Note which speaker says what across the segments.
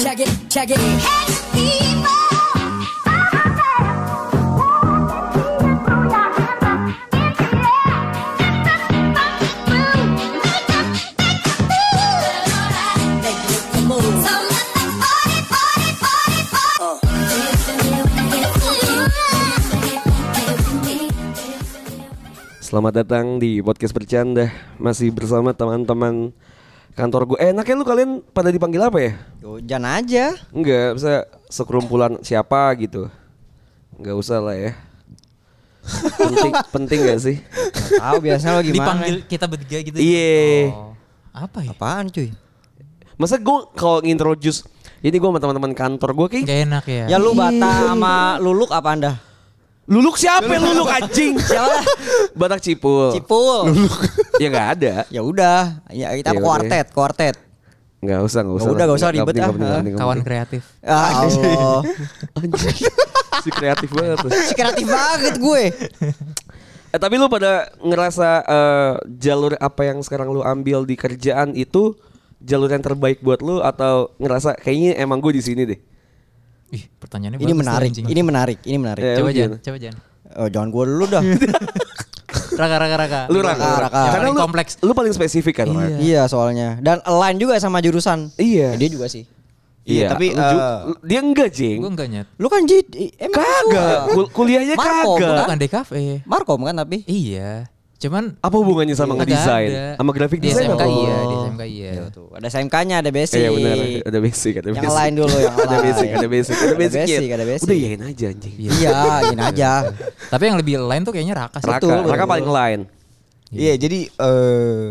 Speaker 1: Shaggy. Make you look move.
Speaker 2: Selamat datang di podcast bercanda masih bersama teman-teman kantor gue. Eh, enaknya lu kalian pada dipanggil apa ya?
Speaker 3: Gojan aja.
Speaker 2: Enggak, bisa sekerumpulan siapa gitu. Enggak usah lah ya. penting penting gak sih?
Speaker 3: Nggak Tahu biasanya Nah, lo gimana?
Speaker 4: Dipanggil kita bertiga gitu.
Speaker 2: Iya.
Speaker 4: Oh. Apa ya?
Speaker 3: Apaan cuy?
Speaker 2: Masa gue kalau ngintroduce ini gue sama teman-teman kantor gue kayak
Speaker 4: Gak enak ya.
Speaker 3: Ya lu Bata sama Luluk apa anda?
Speaker 2: Luluk siapa yang luluk anjing?
Speaker 3: Siapa?
Speaker 2: Batak
Speaker 3: Oh.
Speaker 2: Cipul.
Speaker 3: Cipul.
Speaker 2: ya nggak ada.
Speaker 3: Ya udah, ya
Speaker 2: Ya
Speaker 3: kita
Speaker 2: udah.
Speaker 3: kuartet, kuartet.
Speaker 2: Nggak usah, nggak usah.
Speaker 3: Udah, nggak usah ribet,
Speaker 2: penting,
Speaker 3: ah.
Speaker 2: nggak penting, nggak penting, nggak
Speaker 4: Kawan
Speaker 2: penting.
Speaker 4: kreatif.
Speaker 3: Ya Allah.
Speaker 2: Si kreatif banget. tuh.
Speaker 3: Si kreatif banget gue.
Speaker 2: Eh, tapi lu pada ngerasa eh, jalur apa yang sekarang lu ambil di kerjaan itu jalur yang terbaik buat lu atau ngerasa kayaknya emang gue di sini deh.
Speaker 4: Ih, pertanyaannya
Speaker 3: Ini
Speaker 4: bagus tuh,
Speaker 3: menarik,
Speaker 4: anjing.
Speaker 3: ini menarik, ini menarik.
Speaker 2: Eh,
Speaker 4: Coba
Speaker 2: lu
Speaker 4: Jan,
Speaker 2: gimana?
Speaker 4: coba Jan.
Speaker 3: Oh, jangan gue dulu dah.
Speaker 4: Raka, raka, raka.
Speaker 2: Lu raka,
Speaker 3: Raka, Raka.
Speaker 4: Yang
Speaker 2: Karena
Speaker 4: paling
Speaker 2: lu
Speaker 4: kompleks.
Speaker 2: Lu paling spesifik kan. Raka?
Speaker 3: iya soalnya. Dan align juga sama jurusan.
Speaker 2: Iya.
Speaker 3: Ya, dia juga sih.
Speaker 2: tapi
Speaker 3: tapi eh,
Speaker 2: dia enggak, Jing.
Speaker 4: Gue enggak nyet.
Speaker 3: lu kan jadi emang
Speaker 2: Kagak, kul- kuliahnya
Speaker 3: Markom,
Speaker 2: kagak.
Speaker 4: Bukan DKV.
Speaker 3: Markom kan tapi.
Speaker 4: Iya. Cuman
Speaker 2: Apa hubungannya
Speaker 3: Iya,
Speaker 2: sama
Speaker 4: Agak ada.
Speaker 2: ngedesain? Sama graphic
Speaker 4: Di
Speaker 2: design?
Speaker 4: SMK
Speaker 2: apa?
Speaker 4: iya, di
Speaker 3: Oh.
Speaker 4: SMK iya.
Speaker 3: Iya, tuh. Ada SMK-nya, ada basic.
Speaker 2: Iya benar, ada basic, ada basic.
Speaker 3: Yang lain dulu, yang
Speaker 2: ada
Speaker 3: lain.
Speaker 2: basic, ada basic, ada
Speaker 3: Ada
Speaker 2: basic.
Speaker 3: basic,
Speaker 2: Iya.
Speaker 3: ada basic.
Speaker 2: Udah yain aja anjing.
Speaker 3: Iya, gini aja.
Speaker 4: Tapi yang lebih lain tuh kayaknya Raka sih.
Speaker 2: Raka,
Speaker 3: Betul,
Speaker 2: Raka
Speaker 3: betul.
Speaker 2: paling lain.
Speaker 5: Iya, jadi eh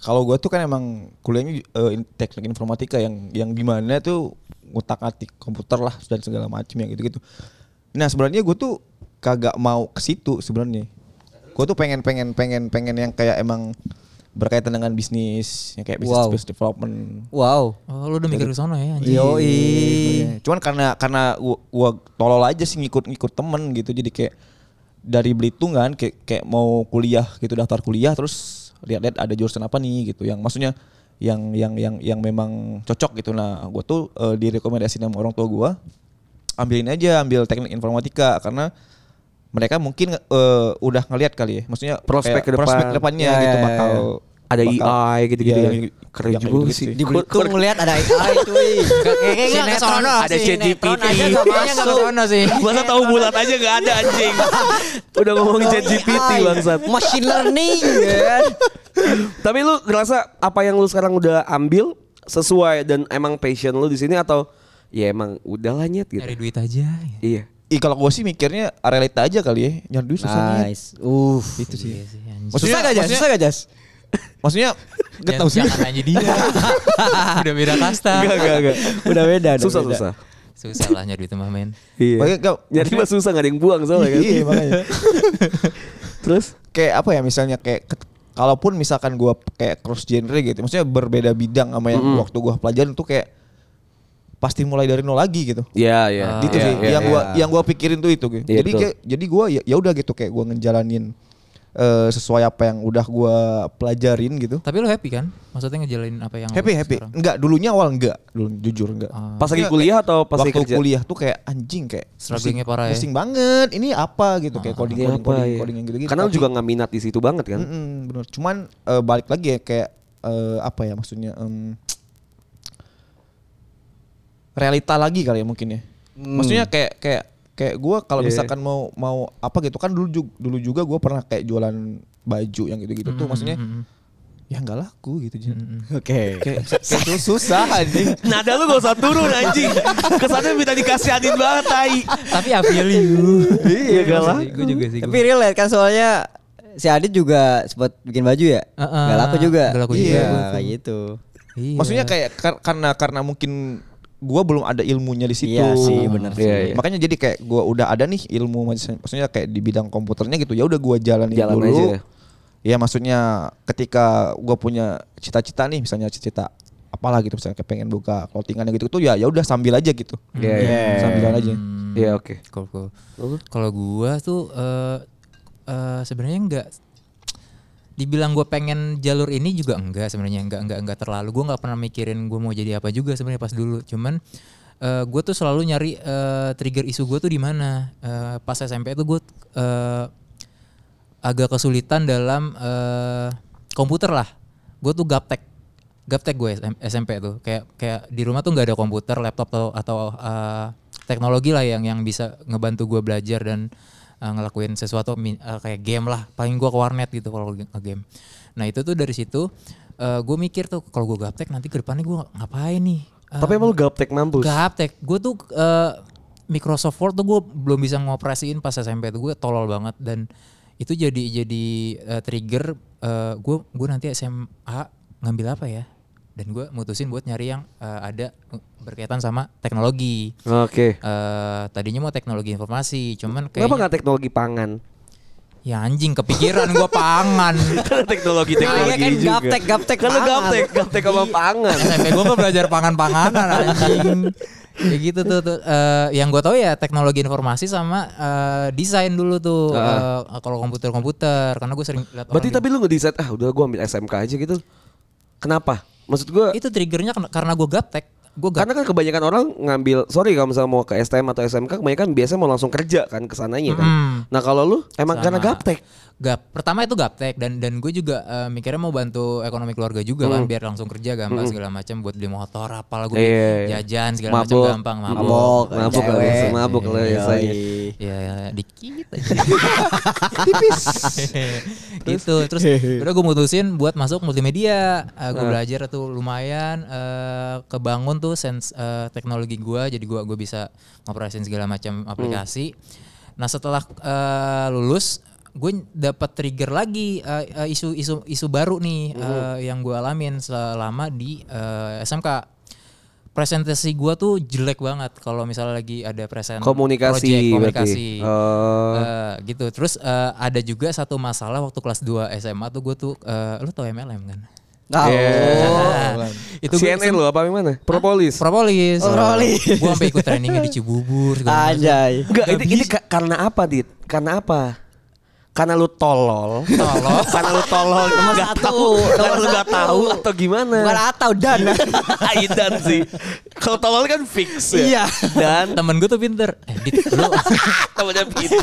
Speaker 5: kalau gua tuh kan emang kuliahnya eh, in- teknik informatika yang yang dimana tuh ngutak-atik komputer lah dan segala macam yang gitu-gitu. Nah sebenarnya gue tuh kagak mau ke situ sebenarnya. Gue tuh pengen pengen pengen pengen yang kayak emang berkaitan dengan bisnis, yang kayak business,
Speaker 3: Wow.
Speaker 5: business development.
Speaker 3: Wow.
Speaker 4: Oh, lu udah mikir ke sono ya anjing.
Speaker 3: Yoi.
Speaker 5: Iya, Cuman karena karena gua, gua tolol aja sih ngikut-ngikut temen gitu jadi kayak dari Belitung kan kayak, kayak mau kuliah gitu daftar kuliah terus lihat-lihat ada jurusan apa nih gitu yang maksudnya yang yang yang yang memang cocok gitu nah gua tuh eh, direkomendasiin sama orang tua gua ambilin aja ambil teknik informatika karena mereka mungkin eh, udah ngelihat kali ya maksudnya
Speaker 2: Prospek
Speaker 5: kayak
Speaker 2: ke depan. Iya,
Speaker 5: prospek kedepannya
Speaker 3: Ya, ya,
Speaker 5: gitu
Speaker 3: ya,
Speaker 5: bakal
Speaker 2: Eh, Ada
Speaker 5: bakal-
Speaker 2: EI gitu-gitu
Speaker 5: Iya,
Speaker 2: ya. Keren
Speaker 5: yang kayak
Speaker 2: juga
Speaker 5: gitu-gitu
Speaker 2: sih.
Speaker 3: Di Belitung ngeliat ada Ah, AI cuy. Kayaknya nggak ke sono
Speaker 2: ada
Speaker 3: sih, netron
Speaker 2: ChatGPT.
Speaker 3: aja nggak
Speaker 4: Kayaknya enggak ke
Speaker 3: masuk.
Speaker 4: sono sih.
Speaker 2: Masa tahu bulat aja nggak ada anjing. Udah ngomongin ChatGPT
Speaker 3: AI,
Speaker 2: bangsat.
Speaker 3: Machine learning ya kan.
Speaker 2: Tapi lu ngerasa apa yang lu sekarang udah ambil sesuai dan emang passion lu di sini atau ya emang udah lah nyet
Speaker 4: Cari
Speaker 2: gitu.
Speaker 4: duit aja.
Speaker 2: Iya.
Speaker 5: Ih kalau gue sih mikirnya Arelita aja kali ya Nyari duit susah niat.
Speaker 3: Nice. Uh.
Speaker 5: Itu sih
Speaker 4: Iya sih, anjing.
Speaker 5: Maksudnya
Speaker 3: Susah gak jas? Susah gak jas?
Speaker 5: Maksudnya Gak
Speaker 4: Jangan-
Speaker 5: tau sih
Speaker 4: Jangan nanya dia. Udah beda kasta.
Speaker 2: Enggak, enggak, enggak.
Speaker 3: Udah beda. udah
Speaker 2: Susah,
Speaker 3: beda.
Speaker 2: susah.
Speaker 4: Susah lah nyari duit mah men.
Speaker 2: Iya.
Speaker 5: Makanya kau-
Speaker 2: Nyari mah susah gak ada yang buang soalnya kan.
Speaker 5: Iya makanya
Speaker 2: Terus
Speaker 5: Kayak apa ya misalnya Kayak ket- Kalaupun misalkan gue kayak cross genre gitu Maksudnya berbeda bidang sama yang waktu gue pelajaran tuh kayak Pasti mulai dari nol lagi gitu
Speaker 2: Iya, iya.
Speaker 4: Ah,
Speaker 5: gitu
Speaker 2: Iya,
Speaker 5: sih
Speaker 2: iya,
Speaker 5: yang
Speaker 2: iya.
Speaker 5: gua yang gua pikirin tuh itu gitu.
Speaker 2: Iya,
Speaker 5: jadi
Speaker 2: betul.
Speaker 5: kayak, jadi gua ya, ya udah gitu kayak gua ngejalanin eh, sesuai apa yang udah gua pelajarin gitu
Speaker 4: Tapi lu happy kan? Maksudnya ngejalanin apa yang lu
Speaker 5: happy happy
Speaker 4: Oh, sekarang? Ah.
Speaker 5: enggak dulunya awal enggak dulu jujur enggak
Speaker 2: Pas lagi
Speaker 5: Enggak,
Speaker 2: kuliah atau pas lagi
Speaker 5: waktu
Speaker 2: kerja?
Speaker 5: kuliah tuh kayak anjing kayak
Speaker 4: Strugglingnya
Speaker 5: pusing-
Speaker 4: parah ya? Ah.
Speaker 5: pusing banget ini apa gitu kayak coding
Speaker 2: Ini
Speaker 5: coding
Speaker 2: apa
Speaker 5: coding,
Speaker 2: ya?
Speaker 5: coding yang gitu gitu
Speaker 2: Karena lu juga nggak minat di situ banget kan?
Speaker 5: bener cuman eh, balik lagi ya kayak eh, apa ya maksudnya em, realita lagi kali ya mungkin ya maksudnya kayak kayak kayak gue kalau
Speaker 2: Hmm. Iya.
Speaker 5: misalkan mau mau apa gitu kan dulu juga, dulu juga gue pernah kayak jualan baju yang gitu gitu
Speaker 4: Hmm,
Speaker 5: tuh maksudnya ya nggak laku gitu Jin.
Speaker 3: Oke.
Speaker 5: kayak, kayak tuh susah anjing
Speaker 2: Nada lu gak usah turun anjing. Kesannya minta dikasihanin banget tai.
Speaker 4: Tapi I feel you.
Speaker 2: Iya galah.
Speaker 4: Gue juga sih.
Speaker 3: Tapi relate kan soalnya si Adit juga sempat bikin baju ya.
Speaker 4: Heeh.
Speaker 3: Gak laku juga.
Speaker 4: Nggak laku
Speaker 3: Iya,
Speaker 5: juga.
Speaker 3: kayak gitu.
Speaker 2: Iya.
Speaker 4: Iya.
Speaker 5: Maksudnya kayak kar- karena karena mungkin gua belum ada ilmunya di situ.
Speaker 3: Iya sih, bener
Speaker 2: Iya, sih. iya.
Speaker 5: Makanya jadi kayak gua udah ada nih ilmu mas- maksudnya kayak di bidang komputernya gitu. Ya udah gua jalanin
Speaker 2: Jalan
Speaker 5: dulu.
Speaker 2: aja.
Speaker 5: Ya maksudnya ketika gua punya cita-cita nih misalnya cita-cita apalah gitu misalnya kayak pengen buka clothingan gitu tuh ya ya udah sambil aja gitu.
Speaker 2: Iya, iya.
Speaker 5: Sambilan aja.
Speaker 2: Iya, oke.
Speaker 4: Cool, cool. Kalau gua tuh eh eh, sebenarnya enggak dibilang gue pengen jalur ini juga enggak sebenarnya enggak enggak enggak terlalu gue nggak pernah mikirin gue mau jadi apa juga sebenarnya pas dulu cuman eh, gue tuh selalu nyari eh, trigger isu gue tuh di mana. Eh, pas SMP tuh gue eh, agak kesulitan dalam eh, komputer lah. Gue tuh gaptek, gaptek gue SM- SMP tuh. Kayak kayak di rumah tuh nggak ada komputer, laptop atau, atau eh, teknologi lah yang yang bisa ngebantu gue belajar dan eh, ngelakuin sesuatu min- eh, kayak game lah. Paling gue ke warnet gitu kalau ge- game. Nah itu tuh dari situ gue mikir tuh kalau gue gaptek nanti ke depannya gue ngapain nih? Eh,
Speaker 2: Tapi emang lu Ah. gaptek mampus.
Speaker 4: Gaptek. Gue tuh eh, Microsoft Word tuh gue belum bisa ngoperasiin pas SMP tuh gue tolol banget dan itu jadi jadi eh, trigger gue gue nanti SMA ngambil apa ya? Dan gue mutusin buat nyari yang eh, ada berkaitan sama teknologi.
Speaker 2: Oke.
Speaker 4: Eh, tadinya mau teknologi informasi, cuman
Speaker 2: Kenapa
Speaker 4: kayaknya
Speaker 2: nggak teknologi pangan?
Speaker 4: ya anjing kepikiran gue pangan.
Speaker 2: Karena teknologi teknologi
Speaker 3: Nah, iya kan
Speaker 2: juga.
Speaker 3: gaptek, gaptek
Speaker 2: Kan lu
Speaker 3: pangan.
Speaker 2: gaptek, gaptek sama
Speaker 4: Iya.
Speaker 2: pangan.
Speaker 4: SMP gue mah belajar pangan-panganan anjing. Ya gitu tuh, tuh. Eh, yang gue tahu ya teknologi informasi sama eh, desain dulu tuh Eh, kalau komputer-komputer karena gue sering lihat
Speaker 2: Berarti
Speaker 4: orang
Speaker 2: tapi lu ngedesain ah udah gua ambil SMK aja gitu. Kenapa? Maksud gua
Speaker 4: di- itu triggernya ken- karena gue gaptek gue gap
Speaker 2: karena kan kebanyakan orang ngambil sorry kalau misalnya mau ke STM atau SMK kebanyakan biasanya mau langsung kerja kan kesananya kan.
Speaker 4: Mm.
Speaker 2: Nah kalau lu emang karena
Speaker 4: Sama.
Speaker 2: gaptek.
Speaker 4: gap pertama itu gaptek dan dan gue juga eh, mikirnya mau bantu ekonomi keluarga juga kan biar langsung kerja gampang segala macam buat beli motor apalah gue
Speaker 2: Iya, iya.
Speaker 4: jajan segala macam gampang mabok iya.
Speaker 2: mabok, mabok,
Speaker 3: cewek.
Speaker 2: lah, biasa mabok lah biasanya.
Speaker 4: ya, ya dikit aja gitu terus udah gue mutusin buat masuk multimedia gue
Speaker 2: Nah.
Speaker 4: belajar tuh lumayan eh, kebangun tuh sense eh, teknologi gua jadi gua gue bisa ngoperasin segala
Speaker 2: Hmm.
Speaker 4: macam aplikasi nah setelah eh, lulus gue dapat trigger lagi eh, eh, isu-isu isu baru nih
Speaker 2: Hmm.
Speaker 4: eh, yang gue alamin selama di eh, SMK presentasi gua tuh jelek banget kalau misalnya lagi ada presentasi
Speaker 2: Komunikasi berarti.
Speaker 4: komunikasi
Speaker 2: Oh.
Speaker 4: Eh, gitu terus eh, ada juga satu masalah waktu kelas 2 SMA tuh gue tuh eh, lu tau MLM kan
Speaker 3: Tahu.
Speaker 2: Iya.
Speaker 3: Oh,
Speaker 4: Nah, itu gua
Speaker 2: CNN lu apa yang mana? Propolis.
Speaker 4: propolis
Speaker 3: Oh, Propolis.
Speaker 4: gue sampai ikut trainingnya di Cibubur segala macam.
Speaker 3: Anjay.
Speaker 2: Enggak, ini, ini ka- karena apa, Dit? Karena apa? Karena lu tolol.
Speaker 4: Tolol.
Speaker 2: karena lu tolol.
Speaker 3: Nomor
Speaker 2: Nggak
Speaker 3: satu,
Speaker 2: tahu.
Speaker 3: nomor
Speaker 2: Karena lu nggak
Speaker 3: satu.
Speaker 2: tahu atau gimana?
Speaker 3: Bukan atau dan.
Speaker 2: Aidan sih. Kalau tolol kan fix
Speaker 3: Iya.
Speaker 2: ya. Dan
Speaker 4: temen gue tuh pinter eh, Dit, lu,
Speaker 2: temannya Pita.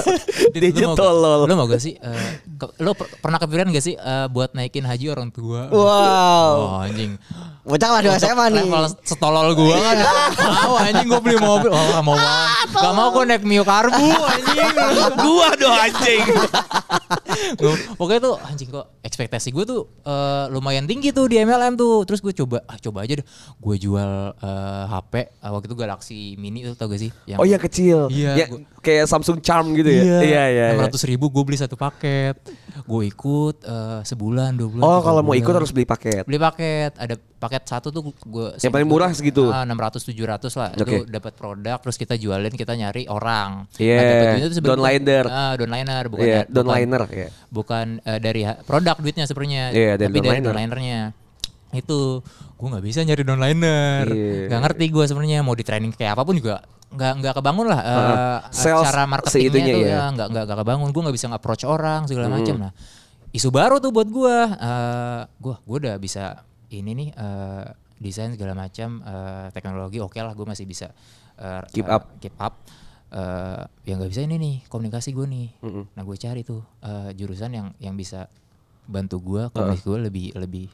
Speaker 4: Dit,
Speaker 2: Dia
Speaker 4: lu
Speaker 2: aja
Speaker 4: mau-
Speaker 2: tolol.
Speaker 4: lu mau gak sih eh, ke- lu per- pernah kepikiran gak sih eh, buat naikin haji orang tua
Speaker 3: Wow.
Speaker 4: oh anjing
Speaker 3: Bocah lah di
Speaker 4: Untuk
Speaker 3: SMA nih.
Speaker 4: level setolol gue kan Mau anjing gue beli mobil Oh gak mau banget Gak mau gue naik Mio Karbu anjing
Speaker 2: Gua dong anjing.
Speaker 4: Gua- Pokoknya tuh anjing kok ekspektasi gue tuh eh, lumayan tinggi tuh di MLM tuh Terus gue coba ah coba aja deh Gue jual eh, HP eh, Waktu itu Galaxy Mini tuh tau gak sih Yang
Speaker 2: Oh yang kecil.
Speaker 4: Iya,
Speaker 2: Ya,
Speaker 4: gua-
Speaker 2: kayak Samsung Charm gitu ya. Iya, iya. iya.
Speaker 4: 600 ribu gue beli satu paket Gue ikut eh, sebulan dua bulan
Speaker 2: Oh,
Speaker 4: tiga
Speaker 2: kalau mau ikut
Speaker 4: bulan.
Speaker 2: harus beli paket.
Speaker 4: beli paket ada paket satu tuh gue
Speaker 2: Yang paling murah segitu?
Speaker 4: enam ratus tujuh ratus lah
Speaker 2: Oke.
Speaker 4: itu dapat produk terus kita jualin kita nyari orang Nah,
Speaker 2: Iya,
Speaker 4: dapat duitnya tuh sebenarnya-
Speaker 2: downliner.
Speaker 4: Ah, downliner bukan
Speaker 2: Iya,
Speaker 4: da- bukan-
Speaker 2: downliner ya.
Speaker 4: bukan eh, dari ha- produk duitnya sebenarnya
Speaker 2: Iya, dari
Speaker 4: tapi dari
Speaker 2: downliner.
Speaker 4: downlinernya itu gue nggak bisa nyari downliner
Speaker 2: Iya.
Speaker 4: nggak ngerti gue sebenarnya mau di training kayak apapun juga nggak nggak kebangun lah eh,
Speaker 2: Heeh. Sales
Speaker 4: cara marketingnya
Speaker 2: seitunya
Speaker 4: tuh
Speaker 2: ya.
Speaker 4: ya nggak nggak nggak kebangun gue nggak bisa approach orang segala
Speaker 2: Hmm.
Speaker 4: macam nah isu baru tuh buat gue gue gue udah bisa ini nih eh, desain segala macam eh, teknologi oke lah gue masih bisa eh,
Speaker 2: Keep
Speaker 4: eh,
Speaker 2: up.
Speaker 4: keep up Eh, yang nggak bisa ini nih komunikasi gue nih nah gue cari tuh eh, jurusan yang yang bisa bantu gue komunikasi gue lebih lebih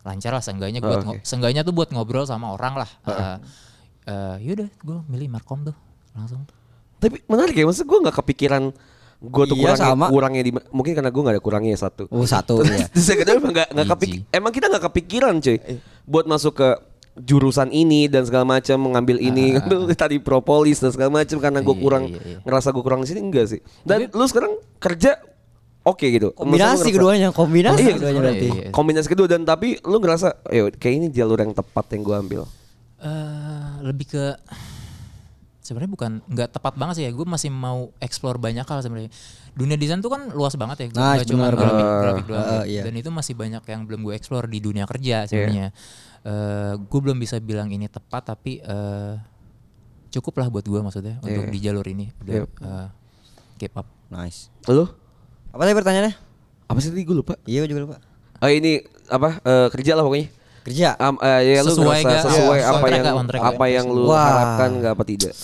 Speaker 4: lancar lah seenggaknya
Speaker 2: oke.
Speaker 4: buat ngo- seenggaknya tuh buat ngobrol sama orang lah Eh, eh, yaudah gue milih markom tuh langsung
Speaker 2: Tapi menarik ya, maksud gue nggak kepikiran gue tuh
Speaker 3: Iya,
Speaker 2: kurangnya,
Speaker 3: sama.
Speaker 2: kurangnya di ma- mungkin karena gue nggak ada kurangnya ya, satu.
Speaker 3: Oh,
Speaker 4: Gitu,
Speaker 3: satu,
Speaker 2: Terus
Speaker 3: iya.
Speaker 2: terus yang kedua emang nggak nggak kepik-
Speaker 4: Jijik.
Speaker 2: emang kita nggak kepikiran cuy buat masuk ke jurusan ini dan segala macam mengambil ini Lu tadi propolis dan segala macam karena gue
Speaker 4: Ah. Iya,
Speaker 2: kurang
Speaker 4: iya, iya.
Speaker 2: ngerasa gue kurang di sini enggak sih. Dan lu sekarang kerja oke gitu. Maksud lu
Speaker 3: Kombinasi
Speaker 2: ngerasa-
Speaker 3: keduanya, kombinasi
Speaker 2: Iya,
Speaker 3: keduanya berarti.
Speaker 4: iya.
Speaker 2: Kombinasi kedua dan tapi lu ngerasa ayo kayak ini jalur yang tepat yang gue ambil.
Speaker 4: eh lebih ke sebenarnya bukan nggak tepat banget sih ya gue masih mau explore banyak hal sebenarnya dunia desain tuh kan luas banget ya gue
Speaker 3: Nah,
Speaker 4: nggak cuma
Speaker 3: benar,
Speaker 4: grafik,
Speaker 3: benar.
Speaker 4: grafik doang
Speaker 3: Eh, eh, iya.
Speaker 4: dan itu masih banyak yang belum gue explore di dunia kerja sebenarnya Eh, gue belum bisa bilang ini tepat tapi eh cukup lah buat gue maksudnya
Speaker 3: Iya.
Speaker 4: untuk di jalur ini udah
Speaker 2: Yep.
Speaker 4: eh, keep up
Speaker 3: Nice.
Speaker 2: Lu
Speaker 3: Apa tadi pertanyaannya?
Speaker 2: apa sih tadi gue lupa?
Speaker 3: Iya, gue juga lupa.
Speaker 2: Oh ini apa eh, kerja lah pokoknya.
Speaker 3: kerja
Speaker 2: Am- eh, ya lu
Speaker 4: Sesuai
Speaker 2: ngerasa
Speaker 4: nggak?
Speaker 2: sesuai
Speaker 4: Iya,
Speaker 2: apa
Speaker 4: soundtrack
Speaker 2: yang
Speaker 4: nggak, soundtrack
Speaker 2: apa
Speaker 4: nggak?
Speaker 2: yang lu
Speaker 3: Wah.
Speaker 2: harapkan nggak apa tidak?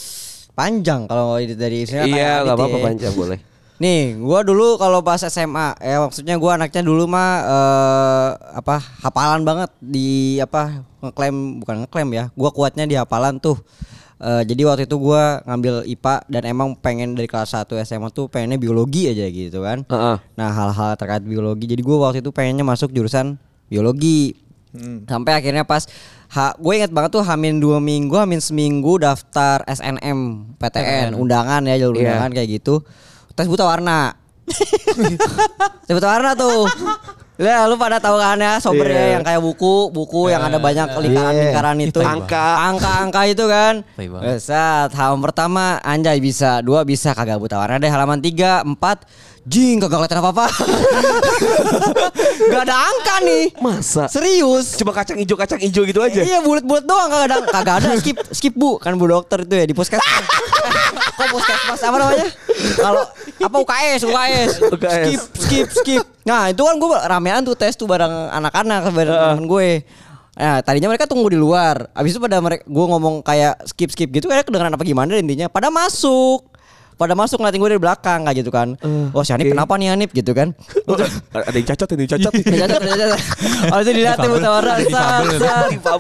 Speaker 3: panjang kalau dari
Speaker 4: Ya,
Speaker 3: sini
Speaker 2: Iya, nggak apa-apa
Speaker 3: panjang
Speaker 2: panjang boleh.
Speaker 3: gitu ya. Nih, gua dulu kalau pas SMA, ya maksudnya gua anaknya dulu mah eh, apa hafalan banget di apa ngeklaim bukan ngeklaim ya. Gua kuatnya di hafalan tuh. Eh, jadi waktu itu gua ngambil IPA dan emang pengen dari kelas 1 SMA tuh pengennya biologi aja gitu kan.
Speaker 2: Heeh.
Speaker 3: Nah, hal-hal terkait biologi. Jadi gua waktu itu pengennya masuk jurusan biologi.
Speaker 2: Hmm.
Speaker 3: Sampai akhirnya pas ha, gue inget banget tuh hamin dua minggu, hamin seminggu daftar SNM, PTN, undangan ya jalur
Speaker 2: Iya.
Speaker 3: undangan kayak gitu. Tes buta warna. Tes buta warna tuh. Lah lu pada tahu kan ya sober
Speaker 2: Iya.
Speaker 3: ya yang kayak buku, buku yang ada banyak lingkaran-lingkaran itu.
Speaker 2: Angka.
Speaker 3: Angka-angka itu kan.
Speaker 4: Tai banget.
Speaker 3: Eh, Saat halaman pertama anjay bisa, dua bisa kagak buta warna deh halaman tiga, empat jing kagak kelihatan apa-apa. Gak ada angka nih.
Speaker 2: Masa?
Speaker 3: Serius.
Speaker 2: Coba kacang hijau kacang hijau gitu aja.
Speaker 3: Iya bulat-bulat doang kagak ada kagak ada skip skip bu kan bu dokter itu ya di puskesmas. Kok puskesmas apa namanya? Kalau apa UKS UKS.
Speaker 2: UKS.
Speaker 3: skip skip skip. Nah itu kan gue ramean tuh tes tuh bareng anak-anak bareng temen gue. Nah tadinya mereka tunggu di luar. Abis itu pada mereka gue ngomong kayak skip skip gitu kayak kedengeran apa gimana deh intinya. Pada masuk. Pada masuk ngeliatin gue dari belakang kayak gitu kan. oh si Hanif
Speaker 2: Eh, oke.
Speaker 3: kenapa nih Hanif gitu kan.
Speaker 2: Oh, ada yang cacat ada yang cacat.
Speaker 3: Ternyata ternyata. Abis itu dilihat tuh tawaran. Sat, sat.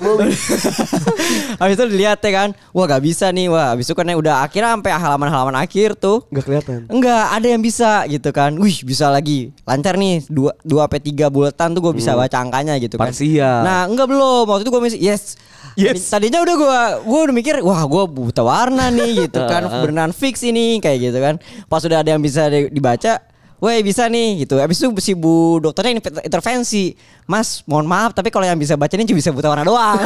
Speaker 3: Habis itu dilihat ya kan Wah gak bisa nih Wah habis itu kan ya udah akhirnya sampai halaman-halaman akhir tuh
Speaker 2: Enggak kelihatan.
Speaker 3: Enggak ada yang bisa gitu kan Wih bisa lagi Lancar nih 2 sampai 3 bulatan tuh gue bisa baca angkanya gitu kan
Speaker 2: Parsial.
Speaker 3: Nah enggak belum Waktu itu gue masih yes
Speaker 2: Yes.
Speaker 3: Tadinya udah gue Gue udah mikir Wah gue buta warna nih gitu kan Beneran fix ini Kayak gitu kan Pas udah ada yang bisa di- dibaca Woi bisa nih gitu Habis itu si bu dokternya inter- intervensi Mas mohon maaf Tapi kalau yang bisa baca ini cuma bisa buta warna doang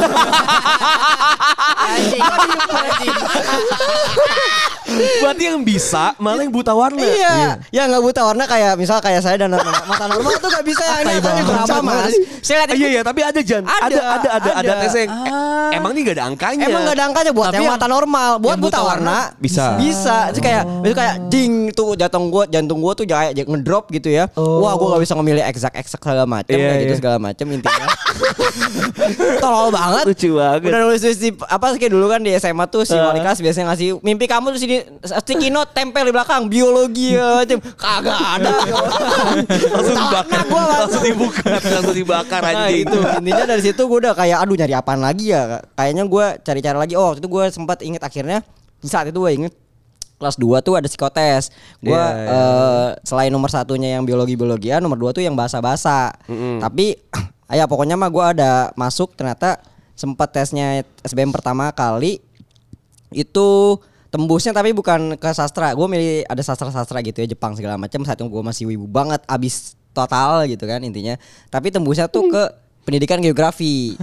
Speaker 2: Berarti yang bisa malah yang buta warna.
Speaker 3: Iya. Ya nggak buta warna kayak misal kayak saya dan mata mata normal tuh nggak bisa yang ini tadi berapa mas? Saya lihat
Speaker 2: Iya iya tapi ada Jan. Ada
Speaker 3: Ada,
Speaker 2: ada ada ada,
Speaker 3: ada. Ah.
Speaker 2: tesnya. yang- eh, Emang ini gak ada angkanya.
Speaker 3: Emang nggak ada angkanya buat
Speaker 4: Tapi
Speaker 3: yang
Speaker 4: yang-
Speaker 3: mata normal, buat
Speaker 4: yang
Speaker 3: buta,
Speaker 4: buta
Speaker 3: warna
Speaker 4: warna
Speaker 5: bisa.
Speaker 3: Bisa. Terus kayak itu kayak ding tuh jantung gua, jantung gua tuh kayak kayak ngedrop gitu ya. Wah, gua nggak bisa ngemilih eksak eksak segala macam
Speaker 2: Iya,
Speaker 3: kayak gitu
Speaker 2: iya.
Speaker 3: segala macam intinya. Tolol banget.
Speaker 2: Lucu banget.
Speaker 3: Udah nulis nulis di apa kayak dulu kan di SMA tuh si wali kelas biasanya ngasih mimpi kamu tuh sini sticky note tempel di belakang biologi ya, macam kagak ada.
Speaker 2: langsung
Speaker 3: Tanah
Speaker 2: dibakar.
Speaker 3: gua
Speaker 2: langsung dibuka, langsung dibakar
Speaker 3: Nah
Speaker 2: anjing.
Speaker 3: itu intinya dari situ gue udah kayak aduh nyari apaan lagi ya kayaknya gue cari-cari lagi oh waktu itu gue sempat inget akhirnya di saat itu gue inget kelas 2 tuh ada psikotes
Speaker 2: Iya,
Speaker 3: gue
Speaker 2: iya.
Speaker 3: eh, selain nomor satunya yang biologi biologian nomor dua tuh yang bahasa bahasa tapi ya pokoknya mah gue ada masuk ternyata sempat tesnya SBM pertama kali itu tembusnya tapi bukan ke sastra gue milih ada sastra sastra gitu ya Jepang segala macam saat gue masih wibu banget abis total gitu kan intinya tapi tembusnya tuh ke pendidikan geografi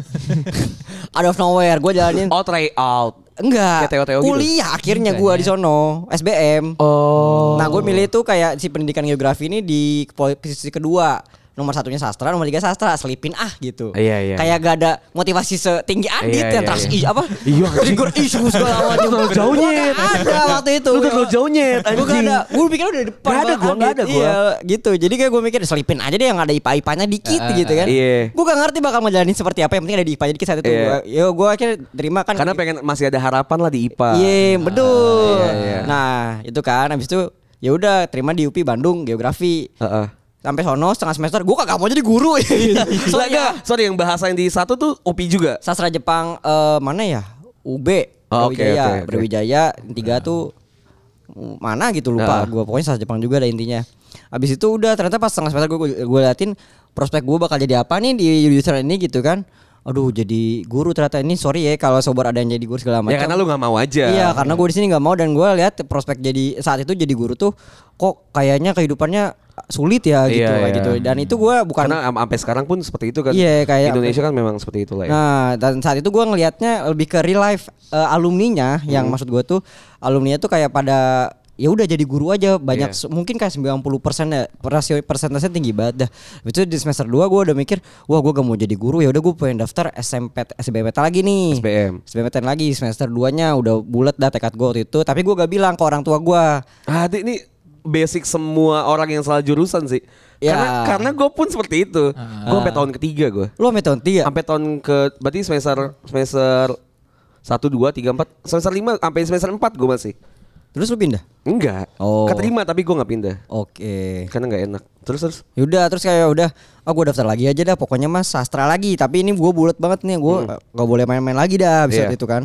Speaker 3: out of nowhere gue jalanin
Speaker 2: Oh try out.
Speaker 3: enggak
Speaker 2: kayak TO-TO gitu? ya.
Speaker 3: kuliah akhirnya gue di sono SBM
Speaker 2: Oh.
Speaker 3: nah gue milih tuh kayak si pendidikan geografi ini di posisi kedua nomor satunya sastra nomor tiga sastra selipin ah gitu
Speaker 2: Iya, iya,
Speaker 3: kayak gak ada motivasi setinggi
Speaker 2: Iya,
Speaker 3: Adit yang
Speaker 2: iya,
Speaker 3: trust
Speaker 2: iya.
Speaker 3: i- apa
Speaker 2: Iya, anjing.
Speaker 3: trigger issue segala macam
Speaker 2: terlalu jauh,
Speaker 3: Gua
Speaker 2: Nyet.
Speaker 3: nggak ada waktu itu
Speaker 2: Lu terlalu jauh, Nyet,
Speaker 3: gue gak
Speaker 2: anjing.
Speaker 3: ada gue pikir udah di depan
Speaker 2: Nggak ada
Speaker 3: banget
Speaker 2: gua, nggak
Speaker 3: Adit.
Speaker 2: ada gua.
Speaker 3: Iya, gitu jadi kayak gue mikir selipin aja deh yang ada ipa ipanya dikit gitu kan
Speaker 2: Iya.
Speaker 3: gue gak ngerti bakal ngejalanin seperti apa yang penting ada di ipanya dikit saat itu
Speaker 2: Iya.
Speaker 3: Gua- yo gue akhirnya terima kan
Speaker 2: Karena pengen masih ada harapan lah di IPA.
Speaker 3: Iya, betul.
Speaker 2: iya, iya.
Speaker 3: Nah, itu kan habis itu ya udah terima di UPI Bandung geografi.
Speaker 2: Heeh.
Speaker 3: Sampai sono setengah semester gua kagak mau jadi guru.
Speaker 2: Soalnya
Speaker 3: Soalnya
Speaker 2: sorry yang bahasa yang di satu tuh OP juga.
Speaker 3: sastra Jepang eh, mana ya? UB
Speaker 2: Oh, oke,
Speaker 3: Brawijaya.
Speaker 2: oke, oke.
Speaker 3: Brawijaya yang tiga tuh uh, mana gitu lupa
Speaker 2: Nah.
Speaker 3: gua pokoknya sastra Jepang juga ada intinya. Habis itu udah ternyata pas setengah semester gua gua liatin prospek gua bakal jadi apa nih di jurusan ini gitu kan. Aduh jadi guru ternyata ini sorry ya kalau sobat ada yang jadi guru segala macam.
Speaker 2: Ya karena lu nggak mau aja.
Speaker 3: Iya, karena gue di sini nggak mau dan gue lihat prospek jadi saat itu jadi guru tuh kok kayaknya kehidupannya sulit ya gitu
Speaker 2: Iya,
Speaker 3: kayak
Speaker 2: iya.
Speaker 3: gitu. Dan itu gue bukan
Speaker 2: Karena am- sampai sekarang pun seperti itu kan.
Speaker 3: Iya, kayak-
Speaker 2: Indonesia kan memang seperti itulah ya.
Speaker 3: Nah, dan saat itu gua ngelihatnya lebih ke real life eh, alumninya yang
Speaker 2: Hmm.
Speaker 3: maksud gua tuh alumninya tuh kayak pada ya udah jadi guru aja banyak
Speaker 2: Iya.
Speaker 3: se- mungkin kayak 90% ya rasio persentasenya tinggi banget dah. Habis Itu di semester 2 gua udah mikir, wah gua gak mau jadi guru ya udah gua pengen daftar SMP SBMPTN lagi nih.
Speaker 2: SBM.
Speaker 3: SBMPTN lagi semester 2-nya udah bulat dah tekad gua waktu itu, tapi gua gak bilang ke orang tua gua.
Speaker 2: Ah, Adi, ini basic semua orang yang salah jurusan sih.
Speaker 3: Ya.
Speaker 2: Karena karena gue pun seperti itu. Gue sampai tahun ketiga gue.
Speaker 3: Lu ya?" sampai tahun tiga.
Speaker 2: Sampai tahun ke berarti semester semester 1 2 3 4 semester 5 sampai semester 4 gue masih.
Speaker 3: Terus lu pindah.
Speaker 2: Enggak.
Speaker 3: Oh.
Speaker 2: Keterima tapi gue nggak pindah.
Speaker 3: Oke.
Speaker 2: Karena nggak enak. Terus terus.
Speaker 3: Yaudah terus kayak Ya udah ah gue daftar lagi aja dah pokoknya mas sastra lagi tapi ini gue bulat banget nih gue gak boleh main-main lagi dah
Speaker 2: Hmm.
Speaker 3: abis
Speaker 2: Iya.
Speaker 3: waktu itu kan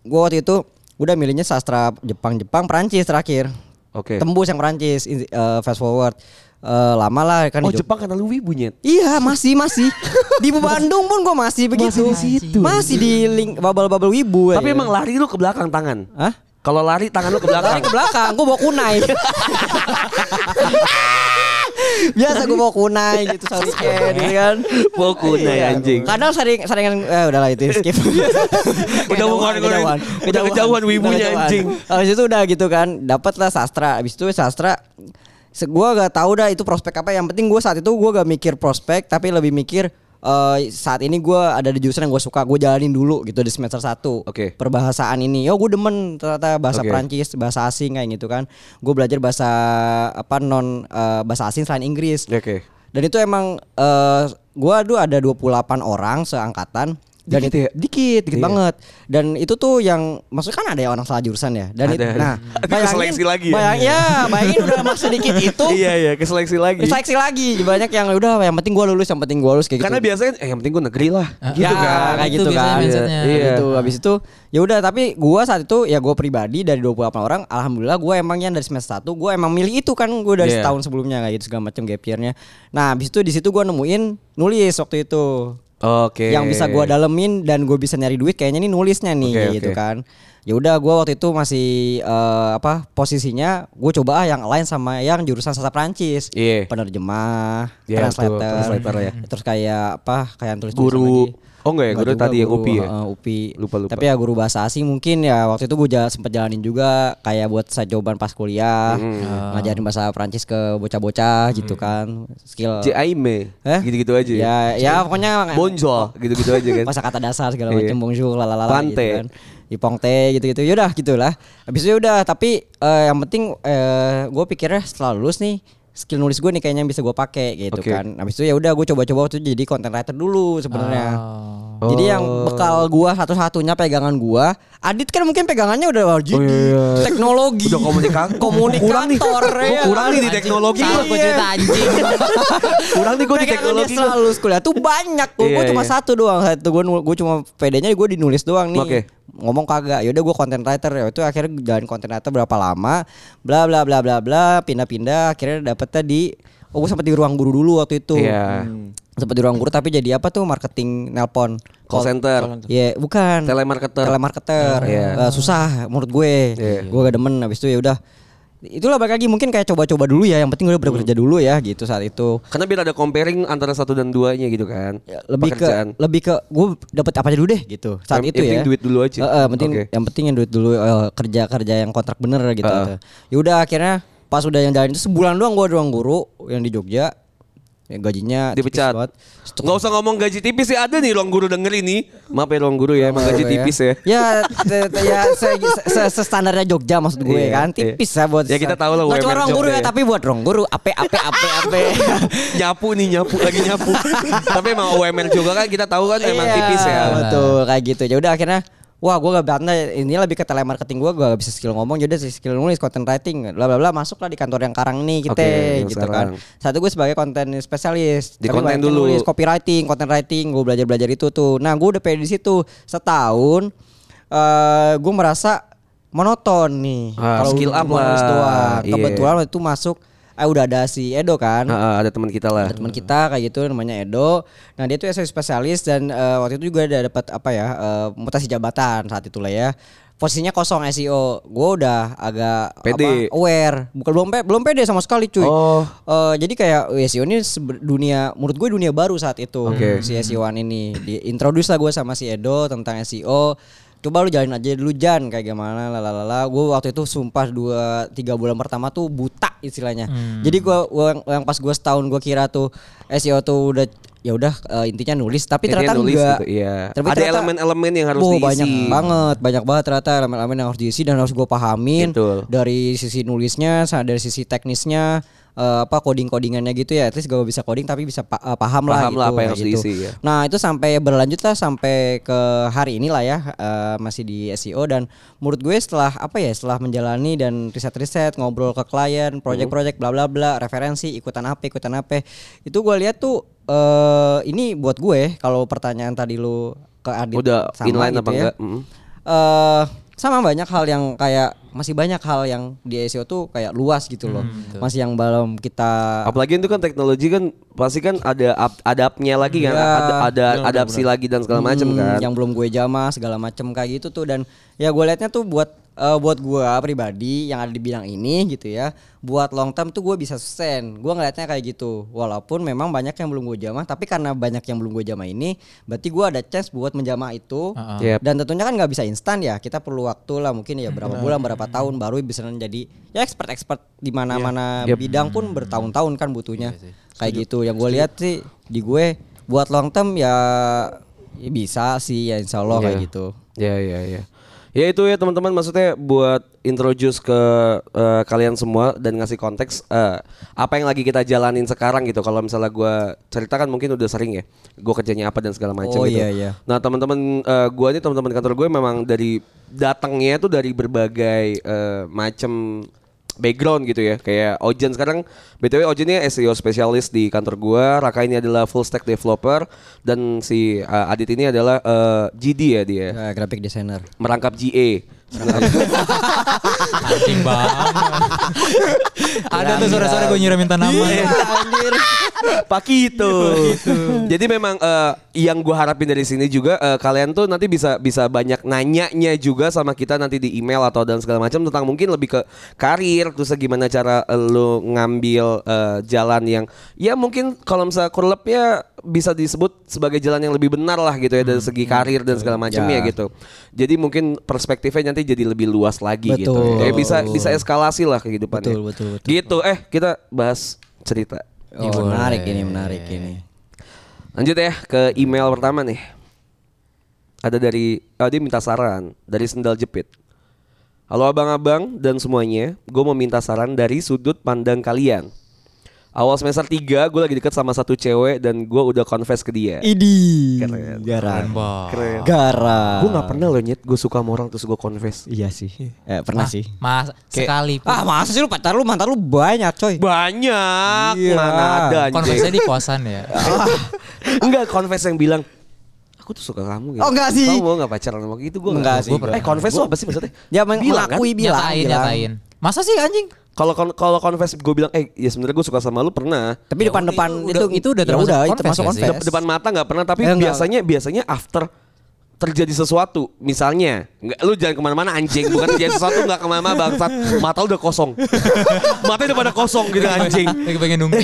Speaker 3: gue waktu itu udah milihnya sastra Jepang Jepang Perancis terakhir
Speaker 2: Oke.
Speaker 3: tembus yang Perancis in- eh, fast forward Eh, lama lah kan
Speaker 2: Oh
Speaker 3: di Jog-
Speaker 2: Jepang karena lu wibunya.
Speaker 3: Iya masih masih di Bandung pun gue masih begitu masih di, link babel-babel wibu
Speaker 2: Tapi
Speaker 3: aja.
Speaker 2: emang lari lu ke belakang tangan.
Speaker 3: Hah?
Speaker 2: Kalau lari tangan lu ke belakang.
Speaker 3: Lari ke belakang, gue bawa kunai. Biasa gue bawa kunai gitu satu scan gitu kan.
Speaker 2: Bawa
Speaker 3: iya,
Speaker 2: kunai, anjing.
Speaker 3: Kadang sering sering eh udahlah itu skip.
Speaker 2: Udah bukan-
Speaker 3: Kejauhan,
Speaker 2: udah kejauhan wibunya,
Speaker 3: Udah kejauhan.
Speaker 2: anjing.
Speaker 3: Habis itu udah gitu kan, dapatlah sastra. Habis itu sastra se- gua gak tahu dah itu prospek apa. Yang penting gua saat itu gua gak mikir prospek tapi lebih mikir eh, saat ini gua ada di jurusan yang gue suka gue jalanin dulu gitu di semester 1
Speaker 2: Oke.
Speaker 3: perbahasaan ini yo gue demen ternyata bahasa
Speaker 2: Oke.
Speaker 3: Perancis bahasa asing kayak gitu kan gue belajar bahasa apa non eh, bahasa asing selain Inggris
Speaker 2: Oke.
Speaker 3: dan itu emang eh gua aduh ada 28 orang seangkatan dan
Speaker 2: Dikit
Speaker 3: itu
Speaker 2: ya?
Speaker 3: dikit, dikit
Speaker 2: Iya.
Speaker 3: banget. Dan itu tuh yang maksudnya kan ada ya orang salah jurusan ya. Dan itu
Speaker 2: Ada, ada.
Speaker 3: nah,
Speaker 2: Ada keseleksi lagi ya?
Speaker 3: Bayangin, ya, bayangin udah masuk sedikit itu.
Speaker 2: Iya iya ke seleksi lagi.
Speaker 3: Seleksi lagi banyak yang udah yang penting gua lulus, yang penting gua lulus kayak
Speaker 2: Karena
Speaker 3: gitu.
Speaker 2: biasanya eh, yang penting gue negeri lah.
Speaker 4: Ah,
Speaker 2: Gitu
Speaker 3: ya,
Speaker 2: kan.
Speaker 3: kayak
Speaker 4: Itu
Speaker 3: gitu
Speaker 4: biasanya
Speaker 3: kan.
Speaker 4: mindsetnya.
Speaker 3: Iya.
Speaker 2: Iya.
Speaker 3: Gitu. Habis itu ya udah tapi gua saat itu ya gua pribadi dari 28 orang alhamdulillah gua emang yang dari semester 1 gua emang milih itu kan gua dari
Speaker 2: Iya.
Speaker 3: setahun sebelumnya kayak gitu segala macam gap year-nya. Nah, habis itu di situ gua nemuin nulis waktu itu
Speaker 2: Oke.
Speaker 3: yang bisa gua dalemin dan gue bisa nyari duit kayaknya nih nulisnya nih
Speaker 2: Oke,
Speaker 3: gitu
Speaker 2: oke.
Speaker 3: kan ya udah gua waktu itu masih eh, apa posisinya gue coba ah yang lain sama yang jurusan sastra Prancis
Speaker 2: Iya.
Speaker 3: penerjemah
Speaker 2: Iya,
Speaker 3: translator,
Speaker 2: betul, translator ya.
Speaker 3: terus kayak apa kayak yang tulis
Speaker 2: Guru. Oh, enggak ya, guru tadi ya,
Speaker 3: UPI
Speaker 2: UPI ya?
Speaker 3: eh, UPI
Speaker 2: Lupa, lupa.
Speaker 3: tapi ya guru bahasa asing mungkin ya waktu itu gue sempet jalanin juga kayak buat saya jawaban pas kuliah
Speaker 2: Hmm.
Speaker 3: eh, ngajarin bahasa Prancis ke bocah-bocah gitu kan skill
Speaker 2: Jaime.
Speaker 3: Hah?
Speaker 2: Gitu-gitu ya? aja.
Speaker 3: ya ya pokoknya
Speaker 2: Bonjol gitu-gitu aja kan.
Speaker 3: Masa kata dasar segala
Speaker 2: Iya.
Speaker 3: macam bonjour lalala
Speaker 2: Pante.
Speaker 3: gitu kan. Ipongte gitu-gitu. Yaudah gitulah. Habis itu yaudah tapi eh, yang penting gue pikirnya setelah lulus nih skill nulis gue nih kayaknya yang bisa gue pakai gitu
Speaker 2: Oke.
Speaker 3: kan. Habis itu ya udah gue coba-coba tuh jadi content writer dulu sebenarnya.
Speaker 4: Oh.
Speaker 3: Jadi yang bekal gua satu-satunya pegangan gua, Adit kan mungkin pegangannya udah jadi teknologi,
Speaker 2: Oh, iya, Udah komunikasi. Kurang nih.
Speaker 3: komunikator,
Speaker 2: Gua
Speaker 3: ya
Speaker 2: kurang
Speaker 3: kan?
Speaker 2: nih di teknologi.
Speaker 4: Salah gua cerita anjing.
Speaker 2: Kurang nih gue di
Speaker 3: Pegangannya
Speaker 2: teknologi.
Speaker 3: setelah lulus kuliah tuh banyak gue
Speaker 2: Iya,
Speaker 3: cuma
Speaker 2: iya.
Speaker 3: satu doang satu gue gue cuma pedenya gue dinulis doang nih
Speaker 2: Oke.
Speaker 3: ngomong kagak yaudah gue content writer ya itu akhirnya jalan content writer berapa lama bla bla bla bla bla pindah-pindah akhirnya dapetnya di oh gue sempat di ruang guru dulu waktu itu
Speaker 2: Iya.
Speaker 3: sempat di ruang guru tapi jadi apa tuh marketing nelpon
Speaker 2: Call center.
Speaker 3: Iya, bukan.
Speaker 2: Telemarketer.
Speaker 3: Telemarketer.
Speaker 2: Iya.
Speaker 3: Eh, susah menurut gue.
Speaker 2: Iya.
Speaker 3: Gue gak demen habis itu ya udah. Itulah balik lagi mungkin kayak coba-coba dulu ya, yang penting gue udah
Speaker 2: Hmm.
Speaker 3: bekerja dulu ya gitu saat itu.
Speaker 2: Karena biar ada comparing antara satu dan duanya gitu kan.
Speaker 3: Ya, lebih
Speaker 2: Pekerjaan.
Speaker 3: ke lebih ke gue dapat apa aja dulu deh gitu saat
Speaker 2: Yang
Speaker 3: itu
Speaker 2: penting
Speaker 3: ya
Speaker 2: duit dulu aja.
Speaker 3: Eh, eh, penting
Speaker 2: Oke.
Speaker 3: yang penting yang duit dulu eh, kerja kerja yang kontrak bener gitu
Speaker 2: Heeh.
Speaker 3: ya udah akhirnya pas udah yang jalan itu sebulan doang gue doang guru yang di Jogja yang gajinya tipis
Speaker 2: dipecat.
Speaker 3: banget.
Speaker 2: Nggak usah ngomong gaji tipis ya ada nih ruang guru denger ini. Maaf ya ruang guru ya emang gaji tipis ya.
Speaker 3: Ya, te- te- ya se, se- se- standarnya Jogja maksud gue
Speaker 2: Iya,
Speaker 3: kan tipis
Speaker 2: iya.
Speaker 3: ya buat.
Speaker 2: Ya, kita tahu lah
Speaker 3: Nggak cuma
Speaker 2: UMR
Speaker 3: ruang guru
Speaker 2: Jogja
Speaker 3: ya,
Speaker 2: ya.
Speaker 3: tapi buat ruang guru ape ape ape ape.
Speaker 2: nyapu nih nyapu lagi nyapu. Tapi emang UMR juga kan kita tahu kan emang
Speaker 3: Iya,
Speaker 2: tipis ya.
Speaker 3: Betul kayak gitu. Ya udah akhirnya wah gue gak berani ini lebih ke telemarketing gue gue gak bisa skill ngomong jadi skill nulis content writing bla bla bla masuklah di kantor yang karang nih kita
Speaker 2: Oke, yang
Speaker 3: gitu
Speaker 2: sekarang.
Speaker 3: kan satu gue sebagai konten spesialis
Speaker 2: Di
Speaker 3: tapi
Speaker 2: konten
Speaker 3: banyak yang
Speaker 2: dulu.
Speaker 3: nulis copywriting content writing gue belajar belajar itu tuh nah gue udah pede di situ setahun eh gue merasa monoton nih
Speaker 2: Ah, skill up
Speaker 3: cuma nulis
Speaker 2: lah.
Speaker 3: doang.
Speaker 2: Iya.
Speaker 3: kebetulan waktu itu masuk eh udah ada si Edo kan
Speaker 2: Ah, ah, ada teman kita lah.
Speaker 3: ada teman kita kayak gitu namanya Edo. Nah dia tuh SEO spesialis dan eh, waktu itu juga ada dapat apa ya eh, mutasi jabatan saat itulah ya. Posisinya kosong SEO. Gue udah agak
Speaker 2: Pede.
Speaker 3: apa, aware. Bukan belum pe- belum pede sama sekali cuy.
Speaker 2: Oh.
Speaker 3: Eh, jadi kayak eh, SEO ini sebe- dunia menurut gue dunia baru saat itu
Speaker 2: Oke.
Speaker 3: si SEOan ini. Diintroduce lah gue sama si Edo tentang SEO. Coba lu jalanin aja dulu Jan kayak gimana lalalala. Gue waktu itu sumpah dua tiga bulan pertama tuh buta istilahnya.
Speaker 2: Hmm.
Speaker 3: Jadi gua, gua- yang pas gue setahun gue kira tuh SEO tuh udah ya udah eh, intinya nulis tapi
Speaker 2: Intinya
Speaker 3: ternyata
Speaker 2: nulis
Speaker 3: enggak.
Speaker 2: gitu, iya.
Speaker 3: Tapi
Speaker 2: Ada
Speaker 3: ternyata-
Speaker 2: elemen-elemen yang harus
Speaker 3: Wah,
Speaker 2: diisi.
Speaker 3: banyak banget, banyak banget ternyata elemen-elemen yang harus diisi dan harus gue pahamin
Speaker 2: Betul.
Speaker 3: dari sisi nulisnya, sa- dari sisi teknisnya, eh, eh, apa coding-codingannya gitu ya. Terus gue bisa coding tapi bisa pa- eh, paham, lah
Speaker 2: Paham
Speaker 3: gitu.
Speaker 2: lah apa yang
Speaker 3: kayak
Speaker 2: harus
Speaker 3: gitu.
Speaker 2: diisi, ya.
Speaker 3: Nah itu sampai berlanjut lah sampai ke hari inilah ya eh, masih di SEO dan menurut gue setelah apa ya setelah menjalani dan riset-riset ngobrol ke klien, project-project
Speaker 2: Hmm.
Speaker 3: bla bla bla, referensi ikutan apa ikutan apa itu gue lihat tuh eh ini buat gue kalau pertanyaan tadi lu ke Adit gitu ya,
Speaker 2: Udah inline apa enggak? Mm.
Speaker 3: eh sama banyak hal yang kayak masih banyak hal yang di SEO tuh kayak luas gitu loh. Masih yang belum kita
Speaker 2: Apalagi itu kan teknologi kan pasti kan ada up- adapnya lagi kan,
Speaker 3: Iya.
Speaker 2: ada ada adapsi lagi dan segala macam
Speaker 3: Hmm,
Speaker 2: kan.
Speaker 3: yang belum gue jamah segala macem kayak gitu tuh dan ya gue liatnya tuh buat eh, buat gue pribadi yang ada di bidang ini gitu ya buat long term tuh gue bisa sustain gue ngelihatnya kayak gitu walaupun memang banyak yang belum gue jamah tapi karena banyak yang belum gue jamah ini berarti gue ada chance buat menjamah itu
Speaker 4: Heeh.
Speaker 2: Yep.
Speaker 3: dan tentunya kan nggak bisa instan ya kita perlu waktu lah mungkin ya berapa bulan berapa tahun baru bisa menjadi ya expert expert di mana mana
Speaker 2: Yep.
Speaker 3: bidang pun bertahun-tahun kan butuhnya kayak gitu yang gue lihat sih di gue buat long term ya, ya bisa sih ya insya Allah kayak
Speaker 2: Iya.
Speaker 3: gitu
Speaker 2: Ya ya ya. Ya itu ya teman-teman maksudnya buat introduce ke eh, kalian semua dan ngasih konteks eh, apa yang lagi kita jalanin sekarang gitu. Kalau misalnya gua ceritakan mungkin udah sering ya. Gua kerjanya apa dan segala macam
Speaker 3: Oh,
Speaker 2: gitu.
Speaker 3: iya, iya.
Speaker 2: Nah, teman-teman eh, gua ini teman-teman kantor gue memang dari datangnya tuh dari berbagai eh, macam background gitu ya. Kayak Ojen sekarang BTW Ojen ini SEO E spesialis di kantor gua, Raka ini adalah full stack developer dan si eh, Adit ini adalah eh, GD ya dia
Speaker 3: Ya, graphic designer
Speaker 2: merangkap GA.
Speaker 4: Anjing banget. Ada tuh sore-sore gue nyiramin
Speaker 3: Iya.
Speaker 4: tanaman. Iya.
Speaker 2: Paki itu. Jadi memang eh, yang gue harapin dari sini juga eh, kalian tuh nanti bisa bisa banyak nanyanya juga sama kita nanti di email atau dan segala macam tentang mungkin lebih ke karir terus gimana cara eh, lu ngambil eh, jalan yang ya mungkin kalau misalnya kurlepnya bisa disebut sebagai jalan yang lebih benar lah gitu ya dari segi karir dan segala macamnya
Speaker 3: Hmm, Ya.
Speaker 2: gitu. Jadi mungkin perspektifnya nanti jadi lebih luas lagi gitu.
Speaker 3: Betul.
Speaker 2: Kayak bisa bisa eskalasi lah kehidupannya.
Speaker 3: Betul, betul, betul.
Speaker 2: Gitu. Eh, kita bahas cerita.
Speaker 3: oh,
Speaker 4: Boleh.
Speaker 3: menarik ini menarik ini
Speaker 2: Lanjut ya ke email pertama nih. Ada dari oh, dia minta saran dari sendal jepit. Halo abang-abang dan semuanya, gue mau minta saran dari sudut pandang kalian. Awal semester 3 gue lagi deket sama satu cewek dan gue udah confess ke dia.
Speaker 3: idi
Speaker 2: Keren.
Speaker 3: garam
Speaker 2: Keren.
Speaker 3: garam
Speaker 2: Gue gak pernah loh nyet, gue suka sama orang terus gue confess.
Speaker 3: iya sih eh, pernah sih
Speaker 4: Mas sekali pun.
Speaker 3: ah masa sih lu pacar lu mantan lu banyak coy
Speaker 2: Banyak,
Speaker 3: Iya.
Speaker 2: mana ada
Speaker 4: Konversnya
Speaker 2: anjing.
Speaker 4: di kosan ya.
Speaker 3: Ah.
Speaker 2: Enggak, confess yang bilang, aku tuh suka kamu gitu.
Speaker 3: Oh, enggak sih.
Speaker 2: Kamu mau gak pacaran sama gitu? Gue
Speaker 3: Enggak sih, Ya,
Speaker 2: Eh confess tuh apa sih maksudnya?
Speaker 3: dia meng-
Speaker 2: Bilang kan?
Speaker 3: mengakui bilang
Speaker 4: nyatain,
Speaker 3: bilang.
Speaker 4: nyatain. Masa sih anjing?
Speaker 2: Kalau kon- kalau confess gue bilang eh ya sebenarnya gue suka sama lu pernah.
Speaker 3: tapi
Speaker 4: Ya
Speaker 3: depan-depan
Speaker 4: udah,
Speaker 3: itu
Speaker 4: itu- itu udah
Speaker 3: ya
Speaker 4: termasuk
Speaker 3: udah, itu
Speaker 4: confess
Speaker 3: termasuk
Speaker 4: ya sih?
Speaker 3: confess.
Speaker 2: Dep- depan mata nggak pernah tapi
Speaker 3: Eh, enggak.
Speaker 2: biasanya biasanya after terjadi sesuatu misalnya nggak lu jangan kemana-mana anjing bukan terjadi sesuatu nggak kemana-mana bangsat mata lu udah kosong mata udah pada kosong gitu anjing
Speaker 4: Lagi pengen nunggu.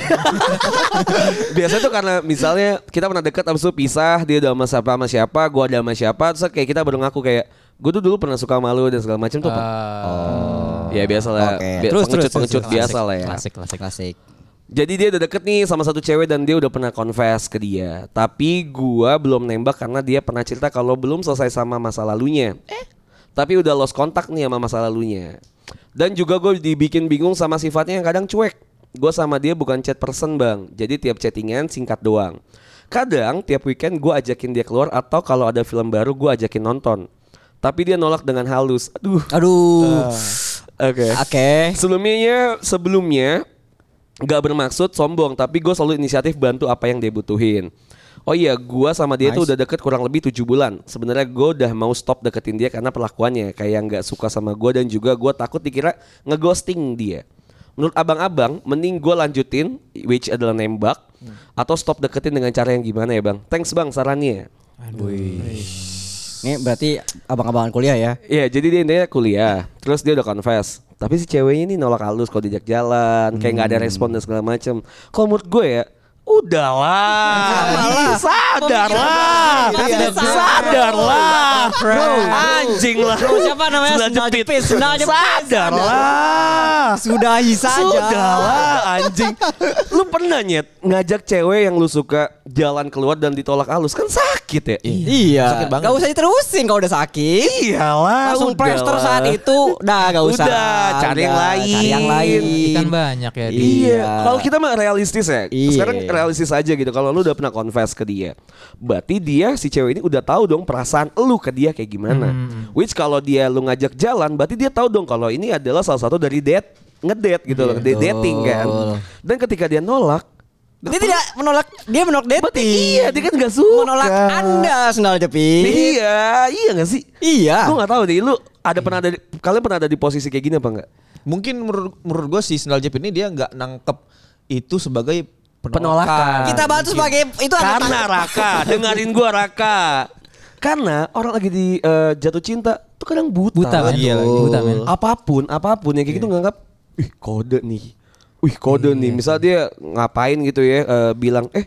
Speaker 2: biasanya tuh karena misalnya kita pernah deket abis itu pisah dia udah sama siapa sama siapa gue ada sama siapa terus kayak kita baru ngaku kayak gue tuh dulu pernah suka malu dan segala macam tuh Pak." ya biasa lah
Speaker 3: Ah. Oke.
Speaker 2: Bi-
Speaker 3: Terus, terus,
Speaker 2: pengecut pengecut
Speaker 3: terus, terus.
Speaker 2: biasa lah ya
Speaker 4: Klasik, klasik.
Speaker 3: klasik
Speaker 2: Jadi dia udah deket nih sama satu cewek dan dia udah pernah confess ke dia. Tapi gua belum nembak karena dia pernah cerita kalau belum selesai sama masa lalunya. Eh? Tapi udah lost kontak nih sama masa lalunya. Dan juga gue dibikin bingung sama sifatnya yang kadang cuek. Gue sama dia bukan chat person bang. Jadi tiap chattingan singkat doang. Kadang tiap weekend gue ajakin dia keluar atau kalau ada film baru gue ajakin nonton. Tapi dia nolak dengan halus. Aduh.
Speaker 3: aduh
Speaker 2: Oke.
Speaker 3: oke
Speaker 2: Sebelumnya sebelumnya nggak bermaksud sombong tapi gue selalu inisiatif bantu apa yang dia butuhin. Oh iya, gua sama dia tuh udah deket kurang lebih tujuh bulan. Sebenarnya gue udah mau stop deketin dia karena perlakuannya kayak nggak suka sama gue dan juga gue takut dikira ngeghosting dia. Menurut abang-abang, mending gue lanjutin, which adalah nembak, atau stop deketin dengan cara yang gimana ya bang? Thanks bang sarannya.
Speaker 3: ini berarti abang-abangan kuliah ya
Speaker 2: Iya, jadi dia intinya kuliah, terus dia udah confess. Tapi si ceweknya ini nolak halus kalau diajak jalan, kayak nggak ada respon dan segala macem. Kalau menurut gue ya, udahlah, Iya, sadarlah,
Speaker 3: Pemikiran
Speaker 2: sadarlah,
Speaker 3: orang.
Speaker 2: sadarlah, anjing lah.
Speaker 3: siapa namanya?
Speaker 2: Sendal
Speaker 3: Sendal
Speaker 2: jepit,
Speaker 3: jepit, sendal jepit.
Speaker 2: sadarlah.
Speaker 3: sudahi saja
Speaker 2: Sudahlah anjing. Lu pernah nyet ngajak cewek yang lu suka jalan keluar dan ditolak halus kan sakit. sakit ya.
Speaker 3: Iya.
Speaker 5: Sakit banget.
Speaker 3: Gak usah diterusin kalau udah sakit.
Speaker 2: Iyalah, Iya,
Speaker 3: Langsung
Speaker 2: udah
Speaker 3: plaster
Speaker 2: lah.
Speaker 3: saat itu. Dah gak usah.
Speaker 2: Udah, cari yang
Speaker 3: Udah, Cari yang lain.
Speaker 4: Ikan banyak ya di
Speaker 2: Iya.
Speaker 3: Iya.
Speaker 2: Kalau kita mah realistis ya.
Speaker 3: Iya.
Speaker 2: Sekarang realistis aja gitu. Kalau lu udah pernah confess ke dia, berarti dia si cewek ini udah tahu dong perasaan lu ke dia kayak gimana. Which kalau dia lu ngajak jalan, berarti dia tahu dong kalau ini adalah salah satu dari date ngedate gitu loh, date- dating kan. Dan ketika dia nolak,
Speaker 3: Dia tidak menolak, dia menolak
Speaker 2: berarti
Speaker 3: dating.
Speaker 2: iya dia kan gak suka.
Speaker 3: Menolak Anda, Sendal Jepit.
Speaker 2: Iya, iya gak sih?
Speaker 3: Iya.
Speaker 2: Gue gak tahu deh, lu ada pernah ada di, kalian pernah ada di posisi kayak gini apa enggak?
Speaker 5: Mungkin menurut menurut gue si Sendal Jepit ini dia nggak nangkep itu sebagai penolakan.
Speaker 2: Penolakan.
Speaker 3: Kita bantu sebagai itu ada
Speaker 2: karena Raka dengerin gua Raka karena orang lagi di eh, jatuh cinta tuh kadang buta,
Speaker 4: buta men.
Speaker 5: Iya,
Speaker 4: Di buta men. Iya.
Speaker 2: apapun apapun yang kayak gitu nganggap ih kode nih wih kode nih misal dia ngapain gitu ya eh, bilang eh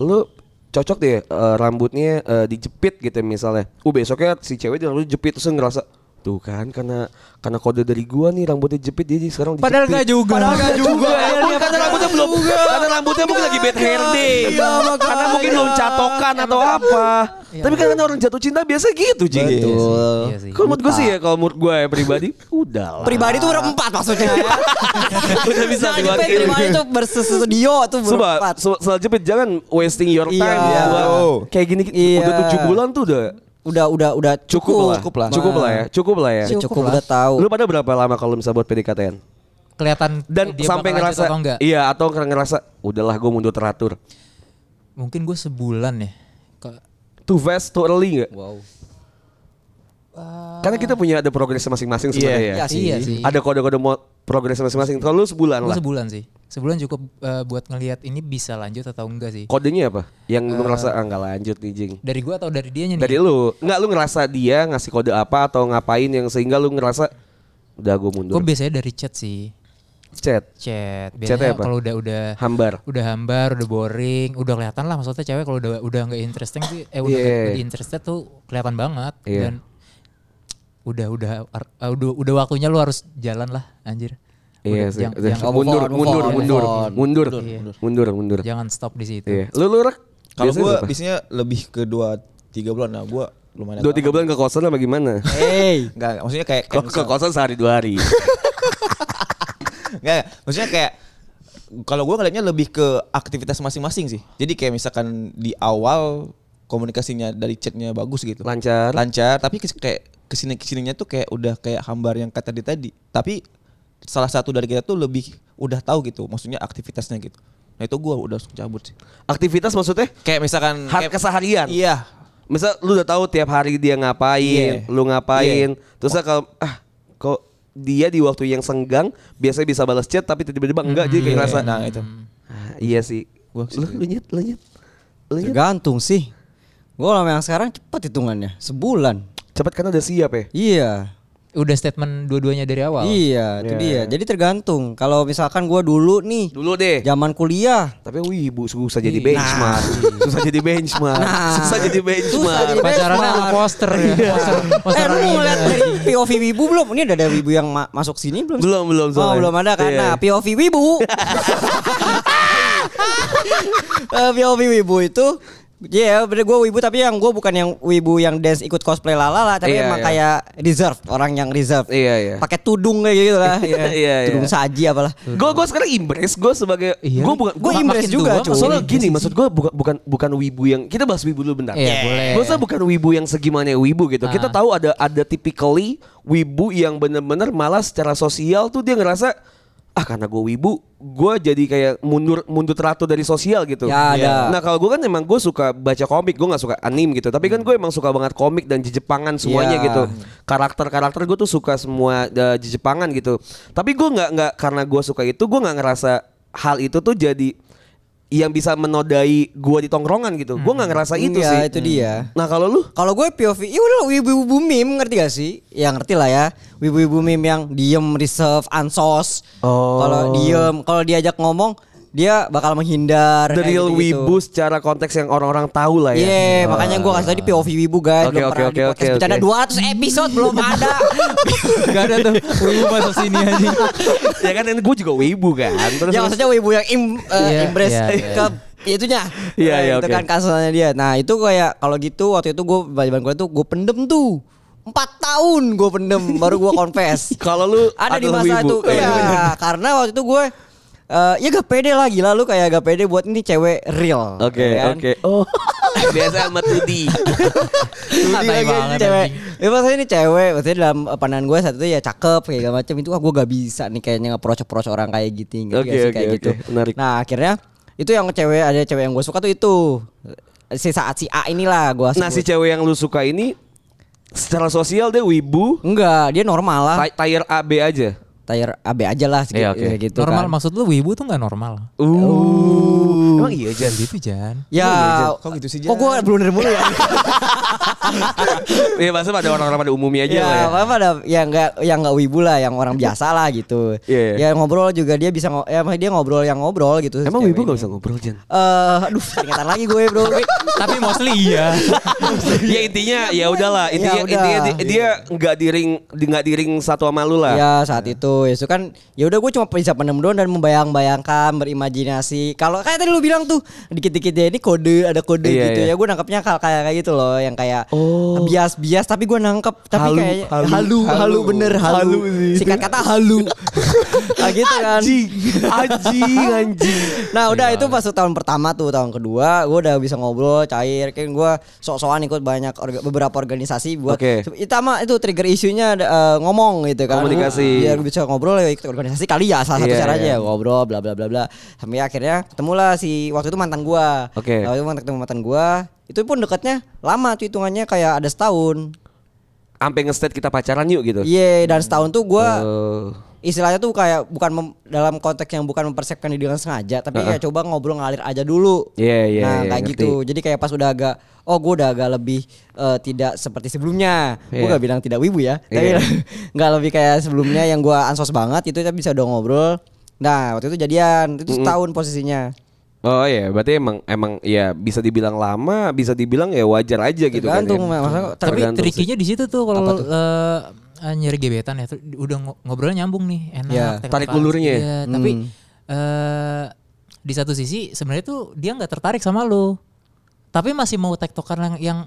Speaker 2: lu cocok deh eh, rambutnya eh, dijepit gitu misalnya uh besoknya si cewek dia rambut jepit terus ngerasa tuh kan karena karena kode dari gua nih rambutnya jepit jadi sekarang dijepit.
Speaker 4: Padahal nggak juga.
Speaker 2: padahal nggak
Speaker 4: Nggak
Speaker 2: juga
Speaker 4: juga.
Speaker 2: Akhirnya karena rambutnya belum karena rambutnya mungkin lagi bad hair day
Speaker 3: Iya, makanya.
Speaker 2: karena mungkin belum catokan atau apa tapi kan orang jatuh cinta biasa gitu Ji
Speaker 3: Betul.
Speaker 4: Iya sih.
Speaker 2: kalau menurut gue sih ya kalau menurut gue ya pribadi udahlah
Speaker 3: Pribadi tuh berempat maksudnya ya.
Speaker 2: udah bisa
Speaker 3: Sendal Jepit
Speaker 2: diwakilin
Speaker 3: pribadi tuh bersestudio tuh
Speaker 2: Coba,
Speaker 3: berempat.
Speaker 2: selanjutnya jangan wasting your time
Speaker 3: Iya.
Speaker 2: buat kayak gini
Speaker 3: Iya.
Speaker 2: udah tujuh bulan tuh udah
Speaker 3: Udah udah udah
Speaker 2: cukup, lah, cukup lah, cukup lah ya, cukup lah ya.
Speaker 3: Cukup, udah
Speaker 2: Lu
Speaker 3: tahu.
Speaker 2: pada berapa lama kalau misalnya buat PDKT-an?
Speaker 4: Kelihatan
Speaker 2: Dan
Speaker 4: dia
Speaker 2: sampai
Speaker 4: bakal lanjut
Speaker 2: ngerasa
Speaker 4: atau enggak.
Speaker 2: iya atau ngerasa udahlah gue mundur teratur.
Speaker 4: Mungkin gue sebulan ya. Ke-
Speaker 2: Too fast, too early nggak?
Speaker 3: Wow.
Speaker 2: Karena kita punya ada progres masing-masing sebenarnya ya.
Speaker 3: Iya sih.
Speaker 4: Iya sih.
Speaker 2: Ada kode-kode mau progres masing-masing. Kalau lu sebulan
Speaker 4: Gue
Speaker 2: lah.
Speaker 4: sebulan sih. Sebulan cukup eh, buat ngelihat ini bisa lanjut atau enggak sih.
Speaker 2: Kodenya apa? Yang
Speaker 4: Eh.
Speaker 2: lu ngerasa ah, nggak lanjut nih Jing.
Speaker 4: Dari gue atau dari dianya nih?
Speaker 2: Dari lu, nggak lu ngerasa dia ngasih kode apa atau ngapain yang sehingga lu ngerasa udah gue mundur.
Speaker 4: Gue biasanya dari chat sih.
Speaker 2: Chat,
Speaker 4: Chat.
Speaker 2: Chatnya
Speaker 4: Biasanya
Speaker 2: apa?
Speaker 4: kalau udah udah
Speaker 2: hambar.
Speaker 4: udah hambar, udah boring, udah kelihatan lah maksudnya cewek kalau udah udah nggak interesting sih, eh udah
Speaker 2: Iya.
Speaker 4: nggak interested tuh kelihatan banget
Speaker 2: Iya.
Speaker 4: dan udah udah ar- uh, udah udah waktunya lu harus jalan lah anjir.
Speaker 2: Iya
Speaker 4: Udah,
Speaker 2: sih.
Speaker 4: jang-
Speaker 2: Udah.
Speaker 4: jang-
Speaker 3: Oh, move
Speaker 2: mundur,
Speaker 3: on, move
Speaker 2: mundur,
Speaker 3: on,
Speaker 2: mundur,
Speaker 3: move on.
Speaker 2: mundur,
Speaker 4: Iya.
Speaker 2: mundur, mundur.
Speaker 4: jangan stop di situ.
Speaker 2: Iya. Lu lu rek?
Speaker 5: Kalau
Speaker 2: Biasanya
Speaker 5: gue
Speaker 2: berapa?
Speaker 5: biasanya lebih ke dua tiga bulan. Nah gue lumayan.
Speaker 2: dua tiga bulan ke kosan apa gimana?
Speaker 3: Hey.
Speaker 5: Enggak, enggak. maksudnya kayak,
Speaker 2: Kalau
Speaker 5: kayak
Speaker 2: ke
Speaker 5: misal-
Speaker 2: kosan sehari dua hari.
Speaker 5: Enggak, enggak. maksudnya kayak kalau gue ngeliatnya lebih ke aktivitas masing-masing sih. Jadi kayak misalkan di awal komunikasinya dari chatnya bagus gitu.
Speaker 2: Lancar.
Speaker 5: Lancar, tapi kes- kayak kesini kesininya tuh kayak udah kayak hambar yang kata tadi tadi. Tapi salah satu dari kita tuh lebih udah tahu gitu, maksudnya aktivitasnya gitu. Nah itu gue udah langsung cabut sih.
Speaker 2: Aktivitas maksudnya?
Speaker 5: Kayak misalkan
Speaker 2: Hal
Speaker 5: kayak-
Speaker 2: keseharian.
Speaker 5: Iya.
Speaker 2: Hmm, Misal lu udah tahu tiap hari dia ngapain,
Speaker 5: Iya.
Speaker 2: lu ngapain. Terus kalau ah kok dia di waktu yang senggang biasanya bisa balas chat tapi tiba-tiba enggak jadi kayak
Speaker 5: Iya,
Speaker 2: ngerasa
Speaker 5: nah itu.
Speaker 2: "Ah, iya sih.
Speaker 5: Gua
Speaker 2: lu lu nyet, lu nyet. Lu nyet.
Speaker 3: Tergantung sih. Gue lama yang sekarang cepat hitungannya, sebulan.
Speaker 2: Cepat karena udah siap ya.
Speaker 3: Iya.
Speaker 4: Udah statement dua-duanya dari awal.
Speaker 3: Iya, itu dia. Jadi tergantung. Kalau misalkan gua dulu nih,
Speaker 2: Dulu deh.
Speaker 3: zaman kuliah.
Speaker 2: Tapi wibu susah jadi benchmark. Susah jadi benchmark. Susah jadi benchmark.
Speaker 3: jadi
Speaker 4: Pacarannya sama
Speaker 3: Iya, benchmark.
Speaker 4: poster ya. Poster, poster
Speaker 3: eh, lu
Speaker 4: orang
Speaker 3: mau ngeliat
Speaker 4: gila.
Speaker 3: dari POV Wibu belum? Ini ada ada Wibu yang ma- masuk sini belum?
Speaker 2: Belum, belum,
Speaker 3: Oh,
Speaker 2: soalnya.
Speaker 3: belum ada karena
Speaker 2: Iya.
Speaker 3: POV Wibu. Eh, POV Wibu itu Iya, bener gue wibu tapi yang gue bukan yang wibu yang dance ikut cosplay lalala tapi
Speaker 2: Iya,
Speaker 3: emang
Speaker 2: iya.
Speaker 3: kayak reserved orang yang reserved.
Speaker 2: Iya, iya.
Speaker 3: Pakai tudung kayak gitu lah.
Speaker 2: Iya, iya.
Speaker 3: Tudung saji apalah.
Speaker 2: Gue gue sekarang impress gue sebagai
Speaker 4: Iya.
Speaker 2: gue bukan
Speaker 3: Gue
Speaker 2: gua-
Speaker 3: impress
Speaker 4: makin
Speaker 3: juga,
Speaker 4: tua,
Speaker 3: cuy.
Speaker 2: Soalnya gini, maksud gue bukan bukan bukan wibu yang kita bahas wibu dulu bentar.
Speaker 4: Iya, boleh.
Speaker 2: Gue rasa bukan wibu yang segimana wibu gitu. Kita
Speaker 4: Ah.
Speaker 2: tahu ada ada typically wibu yang bener-bener malah secara sosial tuh dia ngerasa ah karena gue wibu, gue jadi kayak mundur mundur teratur dari sosial gitu.
Speaker 3: Ya, ada.
Speaker 2: Nah kalau gue kan emang gue suka baca komik, gue nggak suka anime gitu. Tapi kan gue emang suka banget komik dan jejepangan semuanya
Speaker 3: Iya.
Speaker 2: gitu. Karakter-karakter gue tuh suka semua eh, jejepangan gitu. Tapi gue nggak nggak karena gue suka itu, gue nggak ngerasa hal itu tuh jadi yang bisa menodai gue di tongkrongan gitu. Gue nggak ngerasa itu
Speaker 3: Iya,
Speaker 2: sih.
Speaker 3: itu dia.
Speaker 2: Nah kalau lu
Speaker 3: Kalau gue POV, ya udah wibu-wibu meme ngerti gak sih? Ya ngerti lah ya. Wibu-wibu meme yang diem, reserve, ansos.
Speaker 2: Oh.
Speaker 3: Kalau diem, kalau diajak ngomong, dia bakal menghindar.
Speaker 2: the
Speaker 3: kayak
Speaker 2: real
Speaker 3: gitu-gitu.
Speaker 2: wibu secara konteks yang orang-orang tahu lah ya.
Speaker 3: Iya, makanya gue kasih tadi POV wibu guys.
Speaker 2: Oke, oke,
Speaker 3: Belum pernah
Speaker 2: oke,
Speaker 3: di podcast
Speaker 2: oke,
Speaker 3: bercanda
Speaker 2: oke.
Speaker 3: 200 episode belum ada.
Speaker 4: Gak ada tuh. Wibu masuk sini aja.
Speaker 2: ya kan, dan gue juga wibu kan. Terus
Speaker 3: ya maksudnya wibu yang im, eh,
Speaker 4: Iya,
Speaker 3: embrace
Speaker 4: iya, iya.
Speaker 3: ke itunya
Speaker 2: Iya,
Speaker 3: Nah,
Speaker 2: iya,
Speaker 3: itu
Speaker 2: oke.
Speaker 3: kan kasusnya dia nah itu kayak kalau gitu waktu itu gue balikan kuliah tuh gue pendem tuh empat tahun gue pendem baru gue confess
Speaker 2: Kalau lu
Speaker 3: ada di
Speaker 2: adalah
Speaker 3: masa
Speaker 2: wibu.
Speaker 3: itu
Speaker 2: Iya, bener.
Speaker 3: Iya, karena waktu itu gue eh, ya gak pede lah gila lu kayak gak pede buat ini cewek real
Speaker 2: Oke,
Speaker 3: ya kan?
Speaker 2: oke. Oh. Biasa sama Tudi.
Speaker 3: Jadi
Speaker 4: Santai
Speaker 3: lagi
Speaker 4: banget,
Speaker 3: ini cewek.
Speaker 4: anjing.
Speaker 3: Ya maksudnya ini cewek, maksudnya dalam eh, pandangan gue saat itu ya cakep kayak gak macam itu ah gue gak bisa nih kayaknya ngeproce-proce orang kayak gitu gitu
Speaker 2: Oke, oke,
Speaker 3: kayak
Speaker 2: oke. Menarik.
Speaker 3: Nah, akhirnya itu yang cewek ada cewek yang gue suka tuh itu si saat si A inilah gue
Speaker 2: Nah, si cewek yang lu suka ini secara sosial dia wibu,
Speaker 3: Enggak, dia normal lah.
Speaker 2: ti- tire AB aja.
Speaker 3: Tayar AB aja lah segi-
Speaker 2: Iya, oke.
Speaker 3: ya gitu
Speaker 4: normal
Speaker 3: kan.
Speaker 4: maksud lu wibu tuh nggak normal.
Speaker 2: Uh. Oh. Emang iya Jan?
Speaker 4: Gitu Jan.
Speaker 3: Ya,
Speaker 5: Kok gitu sih,
Speaker 3: Kok gue blunder mulu ya?
Speaker 2: Iya, masa pada orang-orang pada umumnya aja
Speaker 3: ya,
Speaker 2: lah ya.
Speaker 3: apa pada yang enggak yang enggak wibu lah, yang orang biasa lah gitu.
Speaker 2: Iya, iya.
Speaker 3: Ya ngobrol juga dia bisa ngo- ya dia ngobrol yang ngobrol gitu.
Speaker 2: Emang
Speaker 3: cewek
Speaker 2: wibu
Speaker 3: ini.
Speaker 2: gak bisa ngobrol Jan?
Speaker 3: Eh, aduh, keringetan lagi gue, Bro.
Speaker 4: Tapi mostly iya.
Speaker 2: ya intinya ya udahlah intinya
Speaker 3: Ya udah.
Speaker 2: intinya di- dia nggak diring di- nggak diring satu sama lu lah
Speaker 3: Ya saat itu ya itu kan ya udah gue cuma bisa penem doang dan membayang-bayangkan berimajinasi kalau kayak tadi lu bilang tuh dikit-dikit dia ini kode ada kode
Speaker 2: Iya,
Speaker 3: gitu
Speaker 2: iya.
Speaker 3: ya gue nangkepnya kayak kayak kayak gitu loh yang kayak
Speaker 2: Oh.
Speaker 3: bias-bias tapi gue nangkep tapi
Speaker 2: Halu,
Speaker 3: kayak
Speaker 2: halu,
Speaker 3: halu halu,
Speaker 5: halu.
Speaker 3: bener halu,
Speaker 5: Halu sih.
Speaker 3: singkat kata halu nah, gitu kan
Speaker 2: anjing anjing
Speaker 3: Nah
Speaker 2: Iya.
Speaker 3: udah itu pas tahun pertama tuh tahun kedua gue udah bisa ngobrol cair kan gue sok-sokan ikut banyak orga- beberapa organisasi buat
Speaker 2: Oke.
Speaker 3: itu sama itu trigger isunya ada, eh, ngomong gitu kan
Speaker 2: Komunikasi.
Speaker 3: biar bisa ngobrol ya ikut organisasi kali ya salah satu
Speaker 2: Iya,
Speaker 3: caranya
Speaker 2: iya.
Speaker 3: ngobrol bla bla bla bla sampai akhirnya ketemulah si waktu itu mantan gue
Speaker 2: Oke.
Speaker 3: waktu itu mantan ketemu mantan gue itu pun dekatnya lama tuh hitungannya kayak ada setahun
Speaker 2: sampai ngestate kita pacaran yuk gitu
Speaker 3: iya dan setahun tuh gue
Speaker 2: Eh,
Speaker 3: istilahnya tuh kayak bukan mem- dalam konteks yang bukan mempersiapkan diri dengan sengaja tapi
Speaker 2: Heeh.
Speaker 3: kayak coba ngobrol ngalir aja dulu
Speaker 2: Iya, iya,
Speaker 3: nah
Speaker 2: iya,
Speaker 3: kayak
Speaker 2: ngerti.
Speaker 3: gitu jadi kayak pas udah agak oh gue udah agak lebih eh, tidak seperti sebelumnya gue
Speaker 2: Iya.
Speaker 3: gak bilang tidak wibu ya
Speaker 2: Iya.
Speaker 3: tapi nggak lebih kayak sebelumnya yang gue ansos banget itu tapi bisa udah ngobrol nah waktu itu jadian itu setahun posisinya
Speaker 2: oh iya berarti emang emang ya bisa dibilang lama bisa dibilang ya wajar aja gitu kan
Speaker 3: tergantung
Speaker 2: ya.
Speaker 3: maksudnya
Speaker 4: Tapi
Speaker 2: Tergantung
Speaker 4: trikinya di situ tuh kalau eh, eh, nyari gebetan ya, tuh udah ngo- ngobrolnya nyambung nih, enak.
Speaker 3: Iya,
Speaker 4: tektokan.
Speaker 2: tarik ulurnya ya.
Speaker 4: Iya, tapi eh, di satu sisi sebenarnya tuh dia nggak tertarik sama lo, tapi masih mau tektokan yang, yang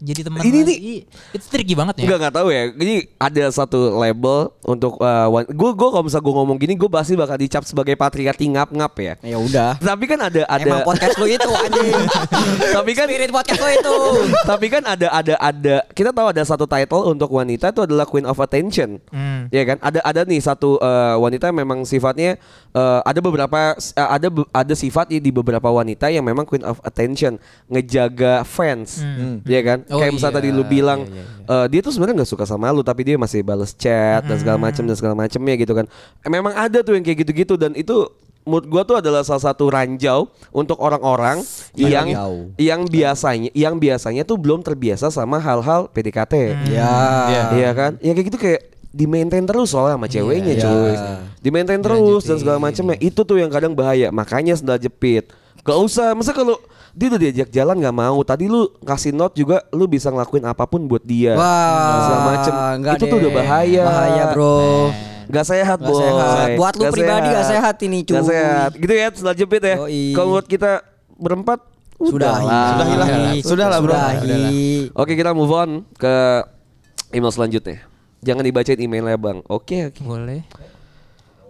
Speaker 4: jadi teman.
Speaker 2: Ini
Speaker 4: lagi.
Speaker 2: nih.
Speaker 4: Ih, itu tricky banget ya.
Speaker 2: Enggak nggak tahu ya. Jadi ada satu label untuk eh, gue gue kalau misalnya gue ngomong gini gue pasti bakal dicap sebagai patriarki ngap-ngap ya.
Speaker 3: ya udah
Speaker 2: Tapi kan ada ada
Speaker 3: emang podcast lu itu anjing
Speaker 2: tapi kan
Speaker 3: spirit podcast lu itu
Speaker 2: tapi kan ada ada ada kita tahu ada satu title untuk wanita itu adalah queen of attention
Speaker 4: Hmm.
Speaker 2: ya kan ada ada nih satu eh, wanita yang memang sifatnya eh, ada beberapa eh, ada be- ada sifat di beberapa wanita yang memang queen of attention ngejaga fans ya kan
Speaker 4: Oh,
Speaker 2: kayak misalnya
Speaker 4: iya,
Speaker 2: tadi lu bilang
Speaker 4: iya,
Speaker 2: eh,
Speaker 4: iya,
Speaker 2: dia tuh sebenarnya nggak suka sama lu tapi dia masih balas chat dan segala macam dan segala macamnya gitu kan Eh, memang ada tuh yang kayak gitu-gitu dan itu menurut gua tuh adalah salah satu ranjau untuk orang-orang
Speaker 4: Iya,
Speaker 2: yang
Speaker 3: Ranjau.
Speaker 2: yang biasanya yang biasanya tuh belum terbiasa sama hal-hal PDKT.
Speaker 3: ya
Speaker 2: Iya kan? Ya kayak gitu kayak di maintain terus soalnya sama ceweknya
Speaker 3: Iya.
Speaker 2: cuy. Di maintain terus dan segala macamnya. Itu tuh yang kadang bahaya. Makanya sendal jepit. Gak usah. Masa kalau dia udah diajak jalan nggak mau. Tadi lu kasih note juga lu bisa ngelakuin apapun buat dia.
Speaker 3: Wah,
Speaker 2: Dan segala macem.
Speaker 3: enggak
Speaker 2: Itu tuh
Speaker 3: deh.
Speaker 2: udah bahaya. Nah.
Speaker 3: Bahaya, bro.
Speaker 2: Gak sehat,
Speaker 3: Nggak
Speaker 2: boy.
Speaker 3: sehat. Buat lu pribadi nggak sehat ini,
Speaker 2: Nggak
Speaker 3: cuy.
Speaker 2: sehat. Gitu ya, sendal jepit ya.
Speaker 3: Yoi.
Speaker 2: Kalau menurut kita berempat
Speaker 3: Sudahi.
Speaker 5: Sudahi lah. Sudah lah, bro.
Speaker 3: Sudahi.
Speaker 2: Oke kita move on ke email selanjutnya. Jangan dibacain emailnya bang. Oke oke.
Speaker 4: Boleh.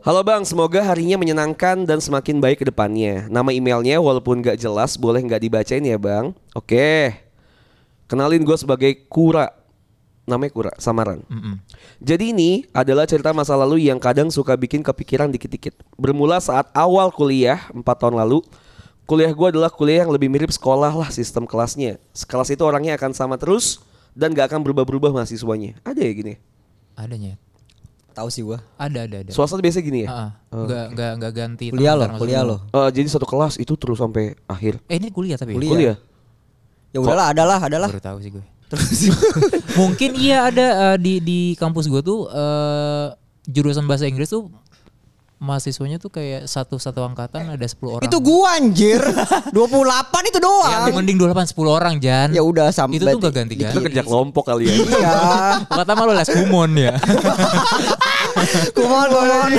Speaker 2: Halo bang, semoga harinya menyenangkan dan semakin baik ke depannya. Nama emailnya walaupun gak jelas boleh nggak dibacain ya bang. Oke. Kenalin gue sebagai Kura. Namanya Kura, samaran.
Speaker 4: Mm-mm.
Speaker 2: Jadi ini adalah cerita masa lalu yang kadang suka bikin kepikiran dikit-dikit. Bermula saat awal kuliah 4 tahun lalu. Kuliah gue adalah kuliah yang lebih mirip sekolah lah sistem kelasnya. Sekelas itu orangnya akan sama terus dan gak akan berubah-berubah mahasiswanya. Ada ya gini?
Speaker 4: Adanya. ya?
Speaker 3: Tahu sih gua.
Speaker 4: Ada ada ada.
Speaker 2: Swasta biasa gini ya?
Speaker 4: Ah, ah. Nggak nggak nggak ganti.
Speaker 3: Kuliah
Speaker 4: teman
Speaker 3: lo,
Speaker 4: ntar maksud
Speaker 3: kuliah
Speaker 4: lu.
Speaker 3: lo.
Speaker 2: Eh, jadi satu kelas itu terus sampai akhir.
Speaker 4: Eh ini kuliah tapi.
Speaker 3: Kuliah.
Speaker 2: Kuliah?
Speaker 3: Ya udahlah, adalah, adalah.
Speaker 4: Baru tahu sih gue. Mungkin iya ada eh, di di kampus gue tuh eh, jurusan bahasa Inggris tuh mahasiswanya tuh kayak satu-satu angkatan ada 10 orang.
Speaker 3: Itu gua anjir. 28 itu doang.
Speaker 4: Yang mending 28 10 orang Jan.
Speaker 3: Ya udah sampai
Speaker 4: Itu tuh gak ganti-ganti.
Speaker 2: Itu kerja kelompok kali ya?
Speaker 3: Iya.
Speaker 4: Kata malu les kumon ya.
Speaker 3: Kumon, kumon.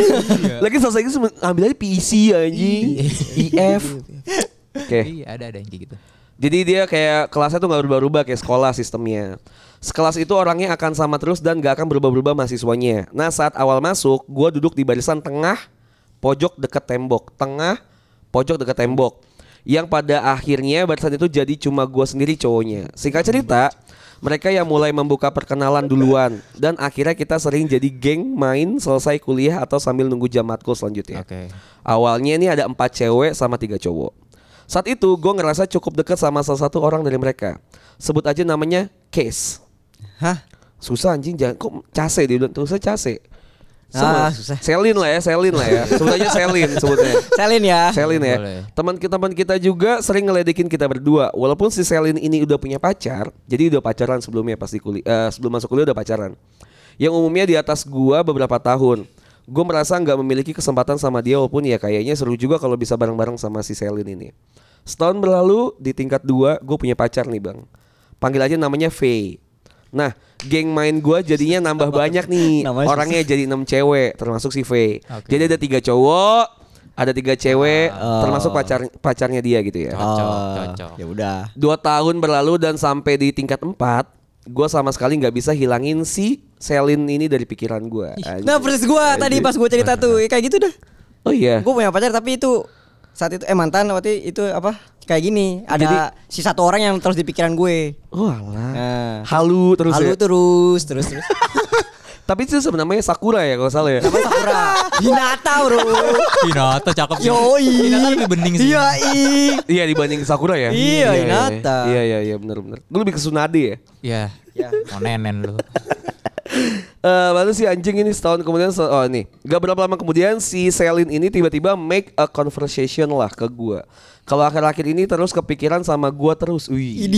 Speaker 2: E Lagi selesai itu ambil aja PEC anjing. IF. Oke.
Speaker 4: Iya ada ada yang kayak gitu.
Speaker 2: Jadi dia kayak kelasnya tuh nggak berubah-ubah kayak sekolah sistemnya. Sekelas itu orangnya akan sama terus dan gak akan berubah-berubah mahasiswanya. Nah saat awal masuk, gue duduk di barisan tengah, pojok deket tembok, tengah, pojok deket tembok. Yang pada akhirnya barisan itu jadi cuma gue sendiri cowoknya. Singkat cerita, mereka yang mulai membuka perkenalan duluan dan akhirnya kita sering jadi geng main selesai kuliah atau sambil nunggu jam matkul selanjutnya.
Speaker 4: Oke.
Speaker 2: Awalnya ini ada empat cewek sama tiga cowok. Saat itu gue ngerasa cukup dekat sama salah satu orang dari mereka. Sebut aja namanya Case.
Speaker 3: Hah?
Speaker 2: Susah anjing jangan kok case dia bilang terusnya case. Sama.
Speaker 3: Ah, susah.
Speaker 2: Selin lah ya, Selin lah ya. Sebut aja Selin sebutnya.
Speaker 3: Selin ya.
Speaker 2: Selin ya.
Speaker 4: Boleh.
Speaker 2: Teman kita teman kita juga sering ngeledekin kita berdua. Walaupun si Selin ini udah punya pacar, jadi udah pacaran sebelumnya pasti kuliah eh, sebelum masuk kuliah udah pacaran. Yang umumnya di atas gua beberapa tahun. Gue merasa nggak memiliki kesempatan sama dia walaupun ya kayaknya seru juga kalau bisa bareng-bareng sama si Selin ini. Setahun berlalu di tingkat dua gue punya pacar nih bang. Panggil aja namanya V. Nah, geng main gua jadinya nambah banyak nih.
Speaker 3: Namanya susah.
Speaker 2: Orangnya jadi enam cewek termasuk si V.
Speaker 4: Oke.
Speaker 2: Jadi ada tiga cowok, ada tiga cewek,
Speaker 3: Ah.
Speaker 2: termasuk pacar pacarnya dia gitu ya.
Speaker 4: Cocok,
Speaker 3: Oh,
Speaker 4: cocok.
Speaker 3: Ya udah.
Speaker 2: Dua tahun berlalu dan sampai di tingkat empat, gue sama sekali nggak bisa hilangin si Selin ini dari pikiran gue.
Speaker 3: Nah persis gua tadi pas gua cerita tuh ya kayak gitu dah.
Speaker 2: Oh iya.
Speaker 3: Gua punya pacar tapi itu saat itu eh mantan waktu itu apa kayak gini ada si satu orang yang terus di pikiran gue.
Speaker 2: Oh alah.
Speaker 3: Nah,
Speaker 2: Halu terus.
Speaker 3: Lalu
Speaker 2: ya?
Speaker 3: terus terus terus.
Speaker 2: Tapi itu sebenarnya Sakura ya kalau nggak salah ya.
Speaker 3: Apa Sakura? Hinata bro.
Speaker 4: Hinata cakep sih.
Speaker 3: Yoi.
Speaker 4: Hinata lebih bening sih.
Speaker 3: Iya i.
Speaker 2: Iya dibanding Sakura ya.
Speaker 3: Iya,
Speaker 2: iya,
Speaker 3: Hinata.
Speaker 2: Iya iya iya benar-benar. Lu lebih ke Tsunade ya.
Speaker 4: Iya. Mau nenen lu.
Speaker 2: Eh, lalu si anjing ini setahun kemudian se- oh nih gak berapa lama kemudian si Selin ini tiba-tiba make a conversation lah ke gua. Kalau akhir-akhir ini terus kepikiran sama gua terus. Wih.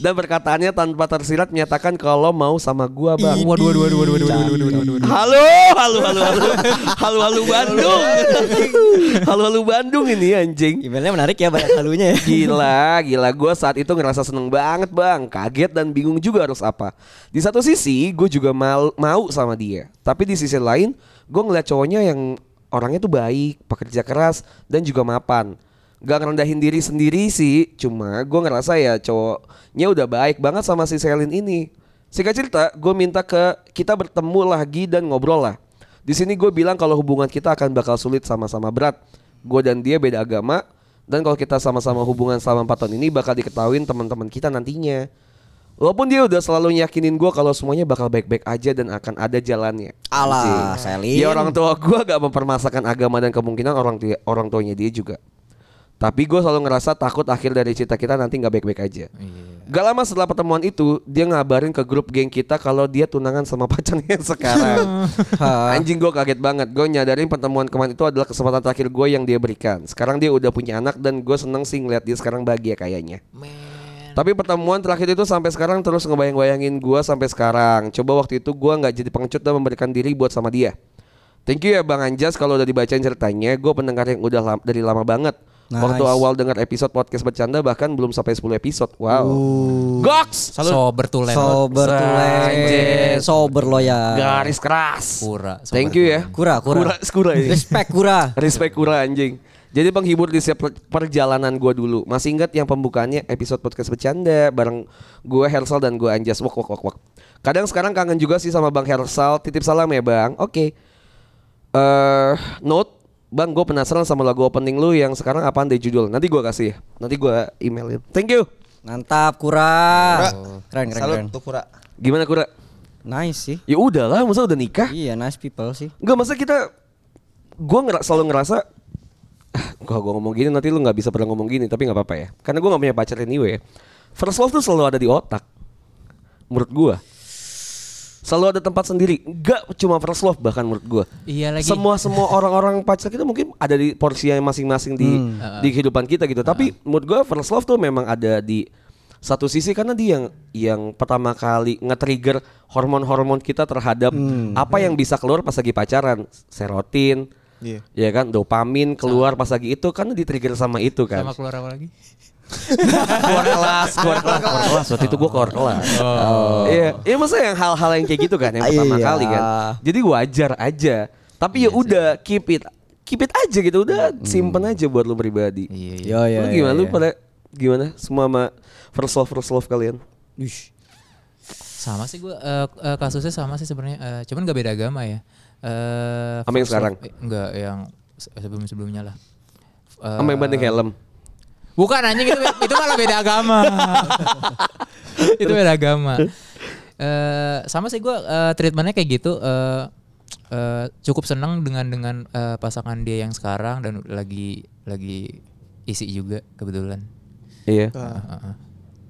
Speaker 2: Dan perkataannya tanpa tersirat menyatakan kalau mau sama gua bang.
Speaker 4: Waduh, waduh, waduh, waduh, waduh, waduh, waduh, waduh, waduh.
Speaker 2: Halo, halo, halo, halo, halo, halo Bandung, halo, halo Bandung ini anjing.
Speaker 3: Emailnya menarik ya banyak halunya ya.
Speaker 2: Gila, gila gue saat itu ngerasa seneng banget bang Kaget dan bingung juga harus apa Di satu sisi gue juga mal- mau sama dia Tapi di sisi lain gue ngeliat cowoknya yang orangnya tuh baik Pekerja keras dan juga mapan Gak ngerendahin diri sendiri sih Cuma gue ngerasa ya cowoknya udah baik banget sama si Selin ini Singkat cerita gue minta ke kita bertemu lagi dan ngobrol lah di sini gue bilang kalau hubungan kita akan bakal sulit sama-sama berat. Gue dan dia beda agama dan kalau kita sama-sama hubungan selama 4 tahun ini bakal diketahuin teman-teman kita nantinya. Walaupun dia udah selalu yakinin gue kalau semuanya bakal baik-baik aja dan akan ada jalannya.
Speaker 3: Alah,
Speaker 2: Anjing.
Speaker 3: Selin.
Speaker 2: Dia Ya, orang tua gue gak mempermasakan agama dan kemungkinan orang tua orang tuanya dia juga. Tapi gue selalu ngerasa takut akhir dari cerita kita nanti nggak baik-baik aja. Gak lama setelah pertemuan itu, dia ngabarin ke grup geng kita kalau dia tunangan sama pacarnya sekarang. Anjing gue kaget banget. Gue nyadarin pertemuan kemarin itu adalah kesempatan terakhir gue yang dia berikan. Sekarang dia udah punya anak dan gue seneng sih ngeliat dia sekarang bahagia kayaknya. Tapi pertemuan terakhir itu sampai sekarang terus ngebayang-bayangin gue sampai sekarang. Coba waktu itu gue nggak jadi pengecut dan memberikan diri buat sama dia. Thank you ya Bang Anjas kalau udah dibacain ceritanya. Gue pendengar yang udah lam- dari lama banget. Waktu
Speaker 3: Nice.
Speaker 2: awal dengar episode podcast bercanda bahkan belum sampai 10 episode. Wow. Goks.
Speaker 4: Sober tulen.
Speaker 3: Sober tulen.
Speaker 2: Anjing.
Speaker 3: Sober lo ya.
Speaker 2: Garis keras.
Speaker 4: Kura, sobat
Speaker 2: Thank you ya.
Speaker 3: Kura, kura.
Speaker 2: Kura, kura ini.
Speaker 3: Respect kura.
Speaker 2: Respect kura anjing. Jadi penghibur di setiap per- perjalanan gua dulu. Masih ingat yang pembukaannya episode podcast bercanda bareng gue Hersal dan gue Anjas. Wok wok wok wok. Kadang sekarang kangen juga sih sama Bang Hersal. Titip salam ya Bang. Oke. Eh note Bang, gue penasaran sama lagu opening lu yang sekarang apaan deh judul. Nanti gua kasih ya. Nanti gua emailin. Thank you.
Speaker 3: Mantap kura. Oh, Keren keren
Speaker 5: Salut
Speaker 3: keren.
Speaker 5: untuk Kura.
Speaker 2: Gimana Kura?
Speaker 3: Nice sih.
Speaker 2: Ya udahlah, masa udah nikah?
Speaker 3: Iya nice people sih.
Speaker 2: Enggak masa kita gua ngera selalu ngerasa "Ah, kalau gua ngomong gini nanti lu nggak bisa pernah ngomong gini tapi nggak apa-apa ya karena gua nggak punya pacar anyway first love tuh selalu ada di otak menurut gua selalu ada tempat sendiri nggak cuma first love bahkan menurut gua
Speaker 4: Iya lagi.
Speaker 2: semua semua orang-orang pacar kita mungkin ada di porsi yang masing-masing di di kehidupan kita gitu tapi menurut gua first love tuh memang ada di satu sisi karena dia yang yang pertama kali nge-trigger hormon-hormon kita terhadap apa yang bisa keluar pas lagi pacaran serotin
Speaker 5: Iya.
Speaker 2: ya kan dopamin keluar pas lagi itu karena di-trigger sama itu kan
Speaker 4: Sama keluar apa lagi?
Speaker 2: keluar kelas, keluar kelas, keluar kelas. Waktu itu gue keluar kelas.
Speaker 4: Oh.
Speaker 2: Iya, iya maksudnya yang hal-hal yang kayak gitu kan yang pertama
Speaker 3: Iya.
Speaker 4: Iya
Speaker 2: kali kan. Jadi wajar aja. Tapi ya udah keep it keep it aja gitu udah simpen aja buat lu pribadi.
Speaker 4: Hmm. Iya, iya.
Speaker 3: Yo, yo,
Speaker 2: lu gimana lu pada gimana semua sama first love first love kalian?
Speaker 4: Sama sih gue kasusnya sama sih sebenarnya, eh, cuman gak beda agama ya. Eh,
Speaker 2: Sama yang
Speaker 4: first
Speaker 2: sekarang?
Speaker 4: love- eh, enggak, yang sebelum sebelumnya lah. Eh,
Speaker 2: Sama yang banding helm.
Speaker 4: Bukan anjing itu itu malah beda agama. itu beda agama. Eh sama sih gua eh, treatmentnya kayak gitu eh eh, cukup senang dengan dengan eh, pasangan dia yang sekarang dan lagi lagi isi juga kebetulan.
Speaker 2: Iya.
Speaker 4: Heeh, heeh.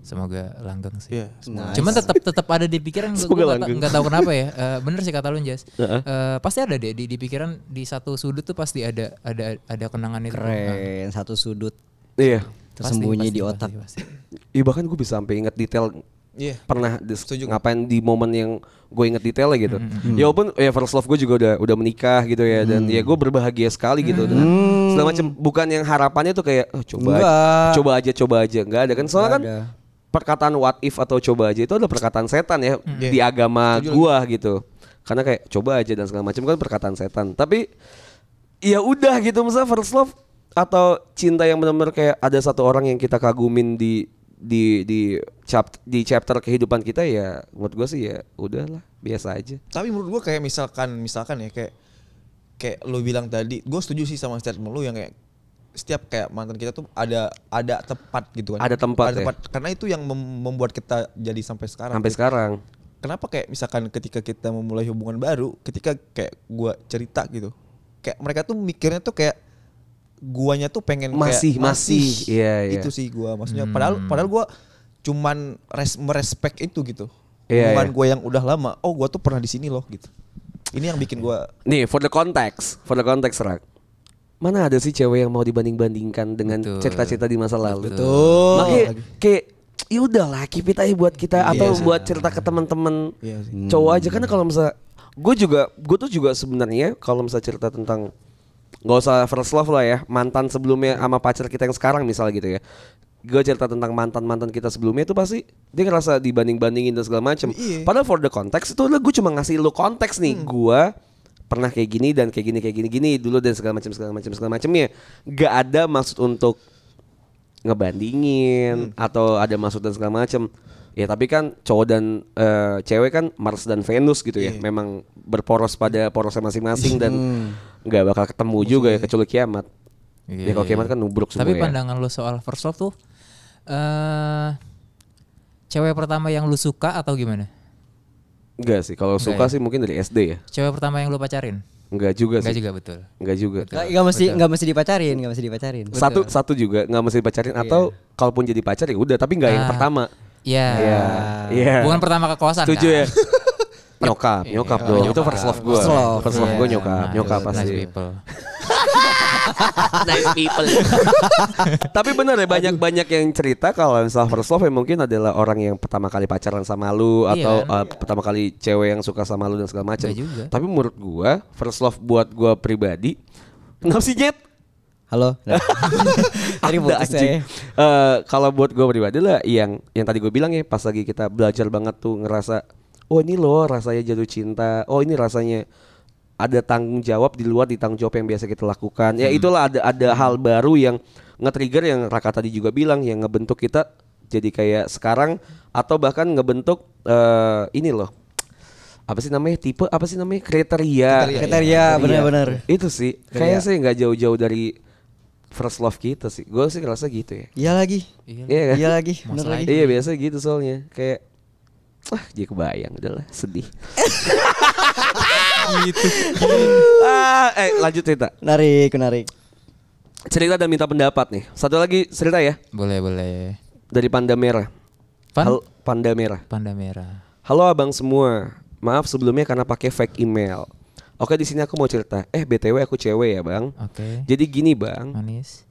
Speaker 4: Semoga langgeng sih.
Speaker 6: Iya.
Speaker 4: Cuman tetap tetap ada di pikiran gue
Speaker 2: Semoga langgeng.
Speaker 4: nggak tahu kenapa ya. Eh, bener sih kata lu Jas.
Speaker 2: Heeh.
Speaker 4: Eh, pasti ada deh di, di pikiran di satu sudut tuh pasti ada ada ada kenangan itu. Eh,
Speaker 3: Keren, satu sudut
Speaker 2: Iya.
Speaker 4: pasti,
Speaker 3: tersembunyi
Speaker 4: pasti,
Speaker 3: di otak.
Speaker 4: pasti, pasti.
Speaker 2: Iya bahkan gue bisa sampai inget detail
Speaker 6: Iya.
Speaker 2: pernah dis-
Speaker 6: Setuju.
Speaker 2: ngapain di momen yang gue inget detailnya gitu. Ya walaupun ya first love gue juga udah udah menikah gitu ya dan
Speaker 3: Mm.
Speaker 2: ya gue berbahagia sekali gitu dan segala macam bukan yang harapannya tuh kayak "Oh, coba aja,
Speaker 3: Enggak.
Speaker 2: coba aja coba aja nggak ada kan soalnya
Speaker 3: Nggak
Speaker 2: kan
Speaker 3: ada.
Speaker 2: perkataan what if atau coba aja itu adalah perkataan setan ya
Speaker 6: Mm.
Speaker 2: di agama gua gitu. Karena kayak coba aja dan segala macam kan perkataan setan. Tapi ya udah gitu misalnya first love atau cinta yang benar-benar kayak ada satu orang yang kita kagumin di di di chapter di chapter kehidupan kita ya menurut gue sih ya udahlah biasa aja
Speaker 6: Tapi menurut gua kayak misalkan misalkan ya kayak kayak lo bilang tadi, gua setuju sih sama statement lu yang kayak setiap kayak mantan kita tuh ada ada tempat gitu kan.
Speaker 2: Ada tempat ya.
Speaker 6: Karena itu yang mem- membuat kita jadi sampai sekarang.
Speaker 2: sampai sekarang
Speaker 6: Kenapa kayak misalkan ketika kita memulai hubungan baru, ketika kayak gua cerita gitu. Kayak mereka tuh mikirnya tuh kayak guanya tuh pengen kayak
Speaker 2: Masih, masih. Iya, iya.
Speaker 6: Itu sih gua maksudnya padahal padahal gua cuman res, merespek itu gitu.
Speaker 2: Iya,
Speaker 6: hubungan
Speaker 2: iya.
Speaker 6: gua yang udah lama. Oh, gua tuh pernah di sini loh gitu. Ini yang bikin gua
Speaker 2: nih for the context for the context rak mana ada sih cewek yang mau dibanding-bandingkan dengan
Speaker 4: Betul.
Speaker 2: cerita-cerita di masa lalu
Speaker 6: Betul.
Speaker 2: makanya kayak ya udahlah keep it aja buat kita atau buat cerita ke teman-teman
Speaker 6: Iya sih.
Speaker 2: cowok aja karena kalau misalnya gue juga gue tuh juga sebenarnya kalau misalnya cerita tentang nggak usah first love lah ya mantan sebelumnya
Speaker 6: Hmm.
Speaker 2: sama pacar kita yang sekarang misalnya gitu ya gue cerita tentang mantan mantan kita sebelumnya itu pasti dia ngerasa dibanding bandingin dan segala macem
Speaker 6: Iya. Hmm.
Speaker 2: padahal for the context itu adalah gue cuma ngasih lu konteks nih gua pernah kayak gini dan kayak gini kayak gini gini dulu dan segala macam segala macam segala macamnya nggak ada maksud untuk ngebandingin atau ada maksud dan segala macem ya tapi kan cowok dan eh, cewek kan Mars dan Venus gitu ya memang berporos pada porosnya masing-masing dan nggak bakal ketemu juga ya kecuali kiamat
Speaker 4: Iya,
Speaker 2: ya kalau
Speaker 4: iya,
Speaker 2: kiamat
Speaker 4: iya.
Speaker 2: kan nubruk semua
Speaker 4: Tapi
Speaker 2: ya.
Speaker 4: pandangan lo soal first love tuh eh cewek pertama yang lu suka atau gimana?
Speaker 2: Enggak sih, kalau suka sih
Speaker 4: ya?
Speaker 2: mungkin dari SD ya.
Speaker 4: Cewek pertama yang lu pacarin?
Speaker 2: Enggak juga
Speaker 4: Enggak
Speaker 2: sih.
Speaker 4: juga betul.
Speaker 2: Enggak juga.
Speaker 3: Nggak, nggak mesti nggak mesti dipacarin, nggak mesti dipacarin.
Speaker 2: Satu satu juga nggak mesti pacarin atau kalaupun jadi pacar ya udah, tapi nggak yang
Speaker 4: Iya. Ah.
Speaker 2: pertama.
Speaker 4: Iya.
Speaker 2: Iya. Iya.
Speaker 4: Bukan pertama kekuasaan.
Speaker 2: Setuju
Speaker 4: kan?
Speaker 2: ya. nyokap, nyokap dong. Itu first love gue.
Speaker 3: First love.
Speaker 2: First love gue
Speaker 4: Iya,
Speaker 2: nyokap,
Speaker 4: nah,
Speaker 2: nyokap
Speaker 4: itu
Speaker 2: pasti.
Speaker 4: Nice people.
Speaker 2: Tapi bener ya banyak-banyak yang cerita kalau misalnya first love yang mungkin adalah orang yang pertama kali pacaran sama lu
Speaker 4: Iya
Speaker 2: atau
Speaker 4: kan?
Speaker 2: uh, pertama kali cewek yang suka sama lu dan segala macam.
Speaker 4: Iya juga.
Speaker 2: Tapi menurut gua first love buat gua pribadi kenapa sih Jet?
Speaker 3: Halo. Nah. Tadi ya.
Speaker 2: Ada
Speaker 3: putus
Speaker 2: anjing.
Speaker 3: saya.
Speaker 2: Eh, kalau buat gua pribadi lah yang yang tadi gue bilang ya pas lagi kita belajar banget tuh ngerasa oh ini loh rasanya jatuh cinta. Oh ini rasanya ada tanggung jawab di luar di tanggung jawab yang biasa kita lakukan. Ya itulah ada ada hal baru yang nge-trigger yang Raka tadi juga bilang yang ngebentuk kita jadi kayak sekarang atau bahkan ngebentuk eh ini loh. Apa sih namanya? Tipe apa sih namanya? Kriteria.
Speaker 3: Kriteria
Speaker 2: Iya.
Speaker 3: benar-benar.
Speaker 2: Itu sih kayaknya sih nggak jauh-jauh dari first love kita sih. Gue sih ngerasa gitu ya.
Speaker 3: Iya lagi.
Speaker 2: Iya kan?
Speaker 3: Iya lagi, bener
Speaker 4: Masalah
Speaker 3: lagi.
Speaker 2: Iya biasa gitu soalnya kayak Wah jadi kebayang udahlah sedih ah, Eh lanjut cerita
Speaker 3: Menarik, menarik.
Speaker 2: Cerita dan minta pendapat nih Satu lagi cerita ya
Speaker 4: Boleh, boleh.
Speaker 2: Dari Panda Merah
Speaker 4: Pan?
Speaker 2: Halo, Panda Merah
Speaker 4: Panda merah.
Speaker 2: Halo abang semua, maaf sebelumnya karena pakai fake email. Oke di sini aku mau cerita. Eh btw aku cewek ya bang.
Speaker 4: Oke.
Speaker 2: Jadi gini bang.
Speaker 4: Manis.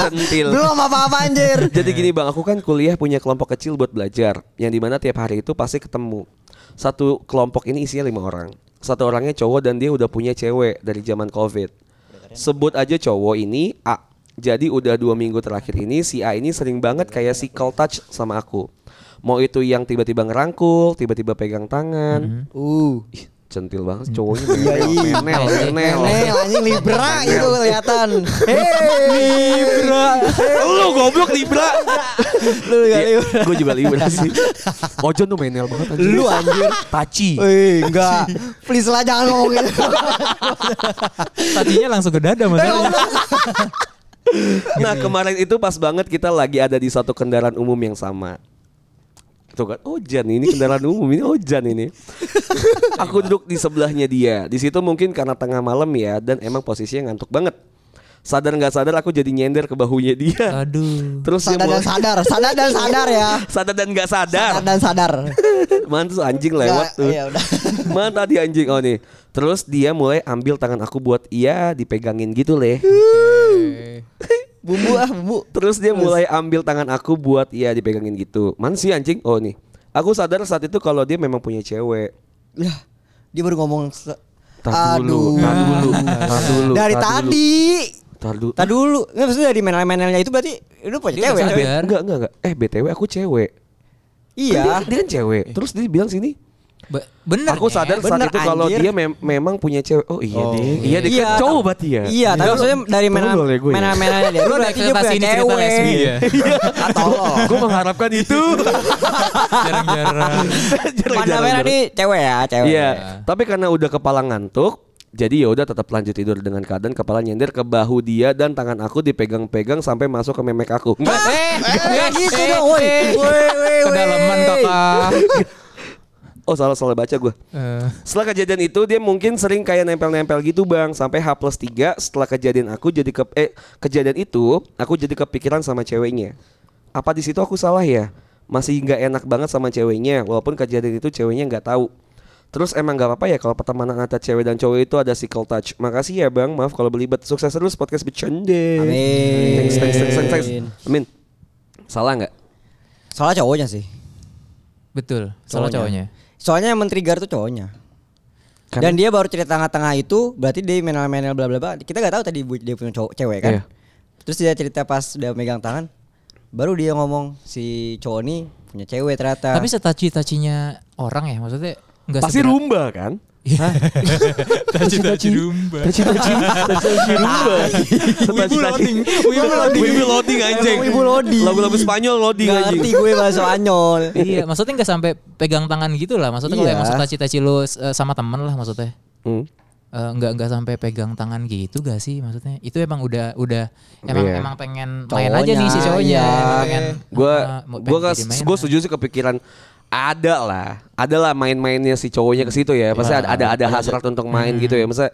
Speaker 2: Sentil.
Speaker 3: Belum apa-apa anjir.
Speaker 2: Jadi gini bang, aku kan kuliah punya kelompok kecil buat belajar, yang dimana tiap hari itu pasti ketemu. Satu kelompok ini isinya lima orang. Satu orangnya cowok dan dia udah punya cewek dari zaman covid. Sebut aja cowok ini A. Jadi udah dua minggu terakhir ini si A ini sering banget kayak physical touch sama aku. Mau itu yang tiba-tiba ngerangkul, tiba-tiba pegang tangan.
Speaker 3: Uh,
Speaker 2: Ih, centil banget cowoknya menel, menel, menel.
Speaker 3: Nel anjing Libra
Speaker 2: Iya.
Speaker 3: itu kelihatan.
Speaker 5: Hei,
Speaker 2: Lu goblok Libra. Lu Libra. Gue juga Libra sih. Ojon tuh menel banget anjir.
Speaker 3: Eh, Lu anjir.
Speaker 2: Taci.
Speaker 3: Eh, enggak. Please lah jangan ngomong
Speaker 2: Iya,
Speaker 3: gitu.
Speaker 4: Tadinya langsung ke dada
Speaker 3: Eh,
Speaker 4: masalahnya.
Speaker 2: Nah kemarin itu pas banget kita lagi ada di satu kendaraan umum yang sama. Tuh kan, Ojan ini kendaraan umum ini Ojan ini. Aku duduk di sebelahnya dia. Di situ mungkin karena tengah malam ya dan emang posisinya ngantuk banget. Sadar nggak sadar aku jadi nyender ke bahunya dia.
Speaker 4: Aduh.
Speaker 2: Terus dia
Speaker 3: Sadar dan
Speaker 2: mulai-
Speaker 3: sadar, sadar dan sadar ya.
Speaker 2: sadar dan nggak sadar.
Speaker 3: Sadar dan sadar.
Speaker 2: Mantus anjing lewat
Speaker 3: Nggak,
Speaker 2: tuh.
Speaker 3: iya udah.
Speaker 2: Mana tadi anjing oh nih. Terus dia mulai ambil tangan aku buat iya dipegangin gitu leh.
Speaker 3: Bumbu ah, bumbu.
Speaker 2: Terus dia mulai ambil tangan aku buat iya dipegangin gitu. Man sih anjing? Oh nih. Aku sadar saat itu kalau dia memang punya cewek.
Speaker 3: Lah, dia baru ngomong se-
Speaker 2: Tar dulu, tar dulu, tar dulu.
Speaker 3: Nah, Dari
Speaker 2: tar dulu.
Speaker 3: tadi.
Speaker 2: Tar dulu.
Speaker 3: Tadi dulu. Nggak maksudnya dari menel-menelnya itu berarti lu punya
Speaker 4: Itu
Speaker 3: cewek.
Speaker 4: nggak
Speaker 2: Be-
Speaker 4: sadar.
Speaker 2: enggak, enggak, enggak. Eh BTW aku cewek. Kan
Speaker 3: Iya.
Speaker 2: Dia, dia kan cewek. Terus dia bilang sini.
Speaker 4: Be- bener. ya.
Speaker 2: Aku sadar saat
Speaker 3: Bener,
Speaker 2: itu kalau
Speaker 3: anjir.
Speaker 2: dia mem- memang punya cewek. Oh iya deh. Iya deh.
Speaker 3: Iya,
Speaker 2: kan
Speaker 3: tapi-
Speaker 2: Cowok berarti ya.
Speaker 3: Iya, tapi maksudnya dari
Speaker 2: Tunggu
Speaker 3: menel
Speaker 2: boleh gue ya?
Speaker 3: menel-menelnya dia. Lu berarti dia punya
Speaker 4: ekspektasi ini cerita lesbi
Speaker 3: cewek. Iya.
Speaker 4: ya.
Speaker 3: Atau lo.
Speaker 2: Gue mengharapkan
Speaker 3: Iya.
Speaker 2: itu.
Speaker 3: Eh,
Speaker 4: Jarang-jarang.
Speaker 3: Mana
Speaker 2: Jarang-jarang.
Speaker 3: merah nih cewek ya, cewek.
Speaker 2: Iya, tapi karena udah kepala ngantuk, jadi ya udah tetap lanjut tidur dengan keadaan kepala nyender ke bahu dia dan tangan aku dipegang-pegang sampai masuk ke memek aku. Enggak.
Speaker 4: Eh,
Speaker 3: Nggak gitu dong, woi. Woi, woi, woi.
Speaker 4: Kedalaman kakak.
Speaker 2: Oh salah salah baca gue.
Speaker 4: Eh,
Speaker 2: Setelah kejadian itu dia mungkin sering kayak nempel-nempel gitu bang sampai H plus 3 setelah kejadian aku jadi ke eh kejadian itu aku jadi kepikiran sama ceweknya. Apa di situ aku salah ya? Masih nggak enak banget sama ceweknya walaupun kejadian itu ceweknya nggak tahu. Terus emang nggak apa-apa ya kalau pertemanan antara cewek dan cowok itu ada physical touch. Makasih ya bang, maaf kalau belibet. Sukses terus podcast bercanda.
Speaker 3: Amin.
Speaker 2: Thanks, thanks, thanks, thanks, thanks. Amin. Salah nggak?
Speaker 3: Salah cowoknya sih.
Speaker 4: Betul. Salah cowoknya.
Speaker 3: Soalnya yang men-trigger tuh cowoknya. Dan dia baru cerita tengah-tengah itu berarti dia menel-menel bla bla bla. Kita nggak tahu tadi bu- dia punya cowok cewek kan.
Speaker 2: Iya.
Speaker 3: Terus dia cerita pas udah megang tangan, baru dia ngomong si cowok ini punya cewek ternyata.
Speaker 4: Tapi setaci-tacinya orang ya maksudnya nggak
Speaker 2: Pasti
Speaker 4: seberat-
Speaker 2: rumba kan?
Speaker 4: Taci-taci rumba.
Speaker 2: Wibu loading. Wibu loading. anjing.
Speaker 3: Emang wibu loading.
Speaker 2: Lagu-lagu Spanyol loading
Speaker 3: nggak
Speaker 2: anjing.
Speaker 3: ngerti gue bahasa Anyol.
Speaker 4: iya, maksudnya nggak sampai pegang tangan gitu lah. Maksudnya kalau
Speaker 3: Iya.
Speaker 4: emang setaci-taci lu eh, sama temen lah maksudnya.
Speaker 2: Hmm.
Speaker 4: Eh, nggak nggak sampai pegang tangan gitu gak sih maksudnya itu emang udah udah emang
Speaker 2: Iya.
Speaker 4: emang pengen main
Speaker 3: Cowoknya,
Speaker 4: aja nih si cowoknya
Speaker 3: iya.
Speaker 4: Emang pengen
Speaker 2: Gue
Speaker 4: eh, mau
Speaker 2: gue
Speaker 4: pengen
Speaker 2: kan
Speaker 4: jadi mainan.
Speaker 2: gue setuju sih kepikiran ada lah, ada lah main-mainnya si cowoknya ke situ ya.
Speaker 4: Iya,
Speaker 2: Pasti ada ada, ada hasrat untuk main
Speaker 4: Hmm.
Speaker 2: gitu ya. Masa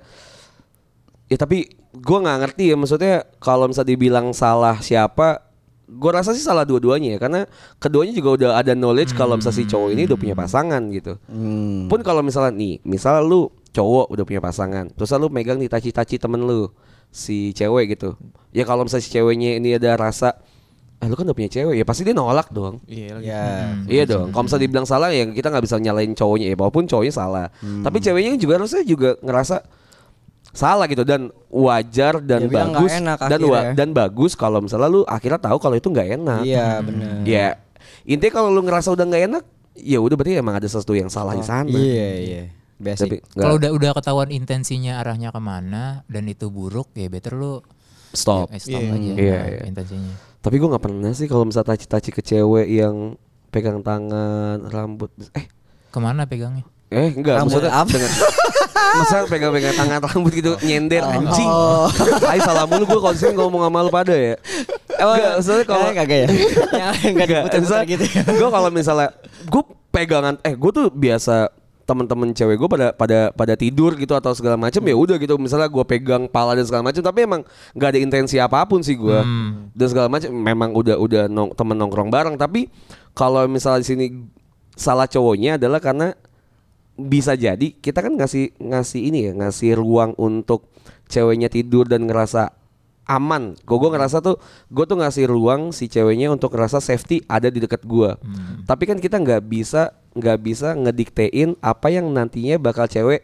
Speaker 2: ya tapi gue nggak ngerti ya maksudnya kalau misalnya dibilang salah siapa gue rasa sih salah dua-duanya ya karena keduanya juga udah ada knowledge kalau misalnya si cowok ini udah punya
Speaker 4: Hmm.
Speaker 2: pasangan gitu
Speaker 3: Hmm.
Speaker 2: pun kalau misalnya nih misalnya lu cowok udah punya pasangan terus lu megang di taci-taci temen lu si cewek gitu ya kalau misalnya si ceweknya ini ada rasa ah lu kan udah punya cewek ya pasti dia nolak dong
Speaker 3: Iya.
Speaker 2: Iya dong. Kalau misalnya dibilang salah ya kita nggak bisa nyalain cowoknya ya, walaupun cowoknya salah.
Speaker 3: Hmm.
Speaker 2: Tapi ceweknya juga harusnya juga ngerasa salah gitu dan wajar dan
Speaker 3: Dia bilang
Speaker 2: bagus
Speaker 3: nggak enak
Speaker 2: dan wa-
Speaker 3: akhirnya.
Speaker 2: dan bagus kalau misalnya lu akhirnya tahu kalau itu nggak enak.
Speaker 3: Iya benar.
Speaker 2: Ya intinya kalau lu ngerasa udah nggak enak, ya udah berarti emang ada sesuatu yang salah di sana.
Speaker 3: Iya iya.
Speaker 2: kan,
Speaker 3: Basic.
Speaker 2: Tapi nggak-
Speaker 4: kalau udah udah ketahuan intensinya arahnya kemana dan itu buruk ya better lu
Speaker 2: stop.
Speaker 4: eh, stop aja
Speaker 2: Iya,
Speaker 4: nah,
Speaker 2: iya.
Speaker 4: intensinya
Speaker 2: Tapi gue nggak pernah sih kalau misalnya taci-taci ke cewek yang pegang tangan, rambut, eh
Speaker 4: kemana pegangnya
Speaker 2: Eh enggak
Speaker 3: Rambut
Speaker 2: maksudnya
Speaker 3: apa?
Speaker 2: dengan masa pegang-pegang tangan rambut gitu nyender anjing.
Speaker 3: Oh.
Speaker 2: Ay salah mulu gue konsen ngomong sama lu pada ya. Enggak, maksudnya kalau
Speaker 3: Eh, kagak ya. Yang enggak diputer-puter gitu. ya.
Speaker 2: gue kalau misalnya gue pegangan eh gue tuh biasa temen-temen cewek gue pada pada pada tidur gitu atau segala macam ya udah gitu misalnya gue pegang pala dan segala macam tapi emang nggak ada intensi apapun sih gue dan segala macam memang udah udah nong, temen nongkrong bareng tapi kalau misalnya di sini salah cowoknya adalah karena bisa jadi kita kan ngasih ngasih ini ya ngasih ruang untuk ceweknya tidur dan ngerasa aman. Gue gue ngerasa tuh gue tuh ngasih ruang si ceweknya untuk ngerasa safety ada di dekat gua. Tapi kan kita nggak bisa nggak bisa ngediktein apa yang nantinya bakal cewek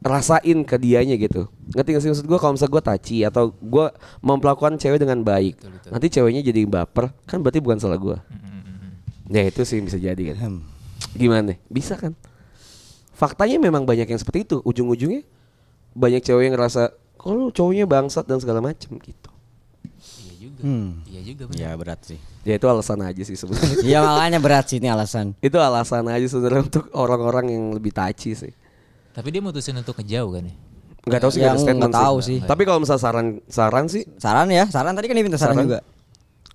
Speaker 2: rasain ke dianya gitu. Ngerti gak sih maksud gue kalau misalnya gue taci atau gue memperlakukan cewek dengan baik, nanti ceweknya jadi baper kan berarti bukan salah gua. Ya itu sih bisa jadi kan. Gimana? Bisa kan? faktanya memang banyak yang seperti itu ujung-ujungnya banyak cewek yang ngerasa kok lu cowoknya bangsat dan segala macem gitu
Speaker 4: Iya juga. Iya juga benar.
Speaker 3: Ya berat sih.
Speaker 2: ya itu alasan aja sih sebenarnya
Speaker 3: Iya makanya berat sih ini alasan.
Speaker 2: itu alasan aja sebenarnya untuk orang-orang yang lebih taci sih
Speaker 4: Tapi dia mutusin untuk ngejauh kan ya.
Speaker 2: nggak tahu sih nggak ada
Speaker 3: Yang
Speaker 2: statement
Speaker 3: nggak tahu sih.
Speaker 2: tapi kalau misalnya saran saran sih
Speaker 3: Saran ya, saran tadi kan dia minta saran,
Speaker 2: Saran?
Speaker 3: juga.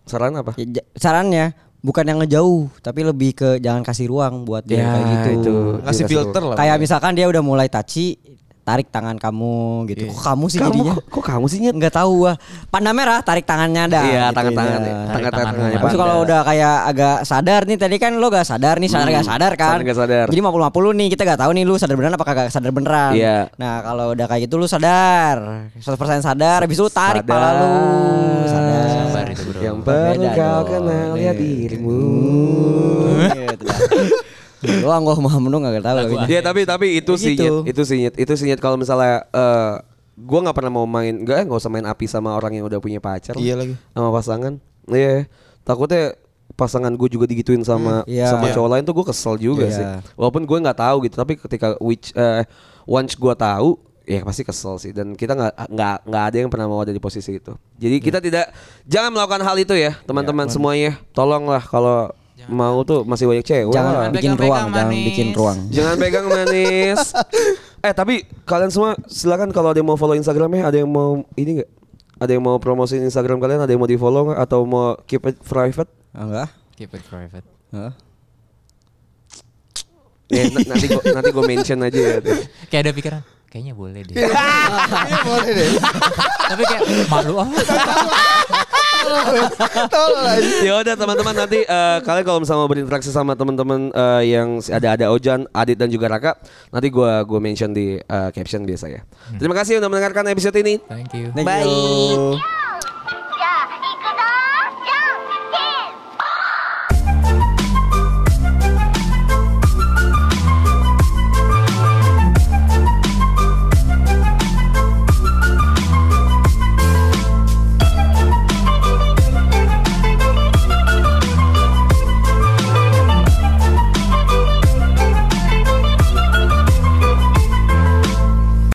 Speaker 2: saran apa
Speaker 3: Ya, ja- sarannya bukan yang ngejauh, tapi lebih ke jangan kasih ruang buat
Speaker 2: Ya,
Speaker 3: dia kayak gitu.
Speaker 6: Ngasih
Speaker 2: Dikasih
Speaker 6: filter lah.
Speaker 3: Kayak misalkan dia udah mulai taci, tarik tangan kamu gitu. Kok kamu sih
Speaker 2: Kamu
Speaker 3: jadinya?
Speaker 2: kok- kok kamu sih, Nyet?
Speaker 3: Enggak tahu gua. Panda merah tarik tangannya dah.
Speaker 2: Iya,
Speaker 3: gitu,
Speaker 2: tangan-tangan
Speaker 3: ya.
Speaker 2: ya.
Speaker 4: Tarik tangan.
Speaker 2: tangan.
Speaker 3: Tapi kalau udah kayak agak sadar nih tadi kan lo gak sadar nih sadar gak sadar kan?
Speaker 2: sadar nggak sadar.
Speaker 3: Jadi 50 50 nih kita gak tahu nih lu sadar beneran apa kagak sadar beneran.
Speaker 2: Iya.
Speaker 3: Nah, kalau udah kayak gitu lu sadar. 100% sadar habis itu lu tarik pala lu. Sadar.
Speaker 4: Sabar itu bro.
Speaker 2: yang perlu
Speaker 3: Beda
Speaker 2: kau
Speaker 3: dong. Iya,
Speaker 2: kenal ya dirimu
Speaker 3: Gitu dah. Doang gua mau menu gak tahu lagi.
Speaker 2: Iya tapi tapi itu
Speaker 3: Ya
Speaker 2: sih
Speaker 3: gitu.
Speaker 2: Nyet. itu sih Nyet. itu sih Nyet. kalau misalnya eh gue nggak pernah mau main nggak nggak usah main api sama orang yang udah punya pacar lah.
Speaker 6: Iya lagi.
Speaker 2: sama pasangan iya takutnya pasangan gue juga digituin sama
Speaker 3: Iya.
Speaker 2: sama
Speaker 3: Iya.
Speaker 2: cowok lain tuh gue kesel juga
Speaker 3: Iya.
Speaker 2: sih walaupun gue nggak tahu gitu tapi ketika which eh once gue tahu ya pasti kesel sih dan kita nggak nggak nggak ada yang pernah mau ada di posisi itu jadi kita
Speaker 3: Iya.
Speaker 2: tidak jangan melakukan hal itu ya teman-teman semuanya tolonglah kalau mau tuh masih banyak cewek lah.
Speaker 3: Jangan bikin
Speaker 4: pegang-pegang
Speaker 3: ruang, jangan
Speaker 4: manis.
Speaker 3: bikin ruang.
Speaker 2: Jangan pegang manis. eh tapi kalian semua silakan kalau ada yang mau follow Instagramnya, ada yang mau ini nggak? Ada yang mau promosiin Instagram kalian? Ada yang mau di follow nggak? Atau mau keep it private?
Speaker 3: Ah, Enggak.
Speaker 4: Keep it private.
Speaker 3: Hah?
Speaker 2: Eh, na- nanti gua, nanti gue mention aja ya.
Speaker 4: Kayak ada pikiran. Kayaknya boleh deh. Tapi kayak malu ah.
Speaker 2: ya udah teman-teman nanti eh, kalian kalau misalnya mau berinteraksi sama teman-teman eh, yang si- ada ada Ojan, Adit dan juga Raka, nanti gua gua Hmm. mention di eh, caption biasa ya. Terima kasih udah mendengarkan episode ini.
Speaker 4: Thank you.
Speaker 3: Thank you.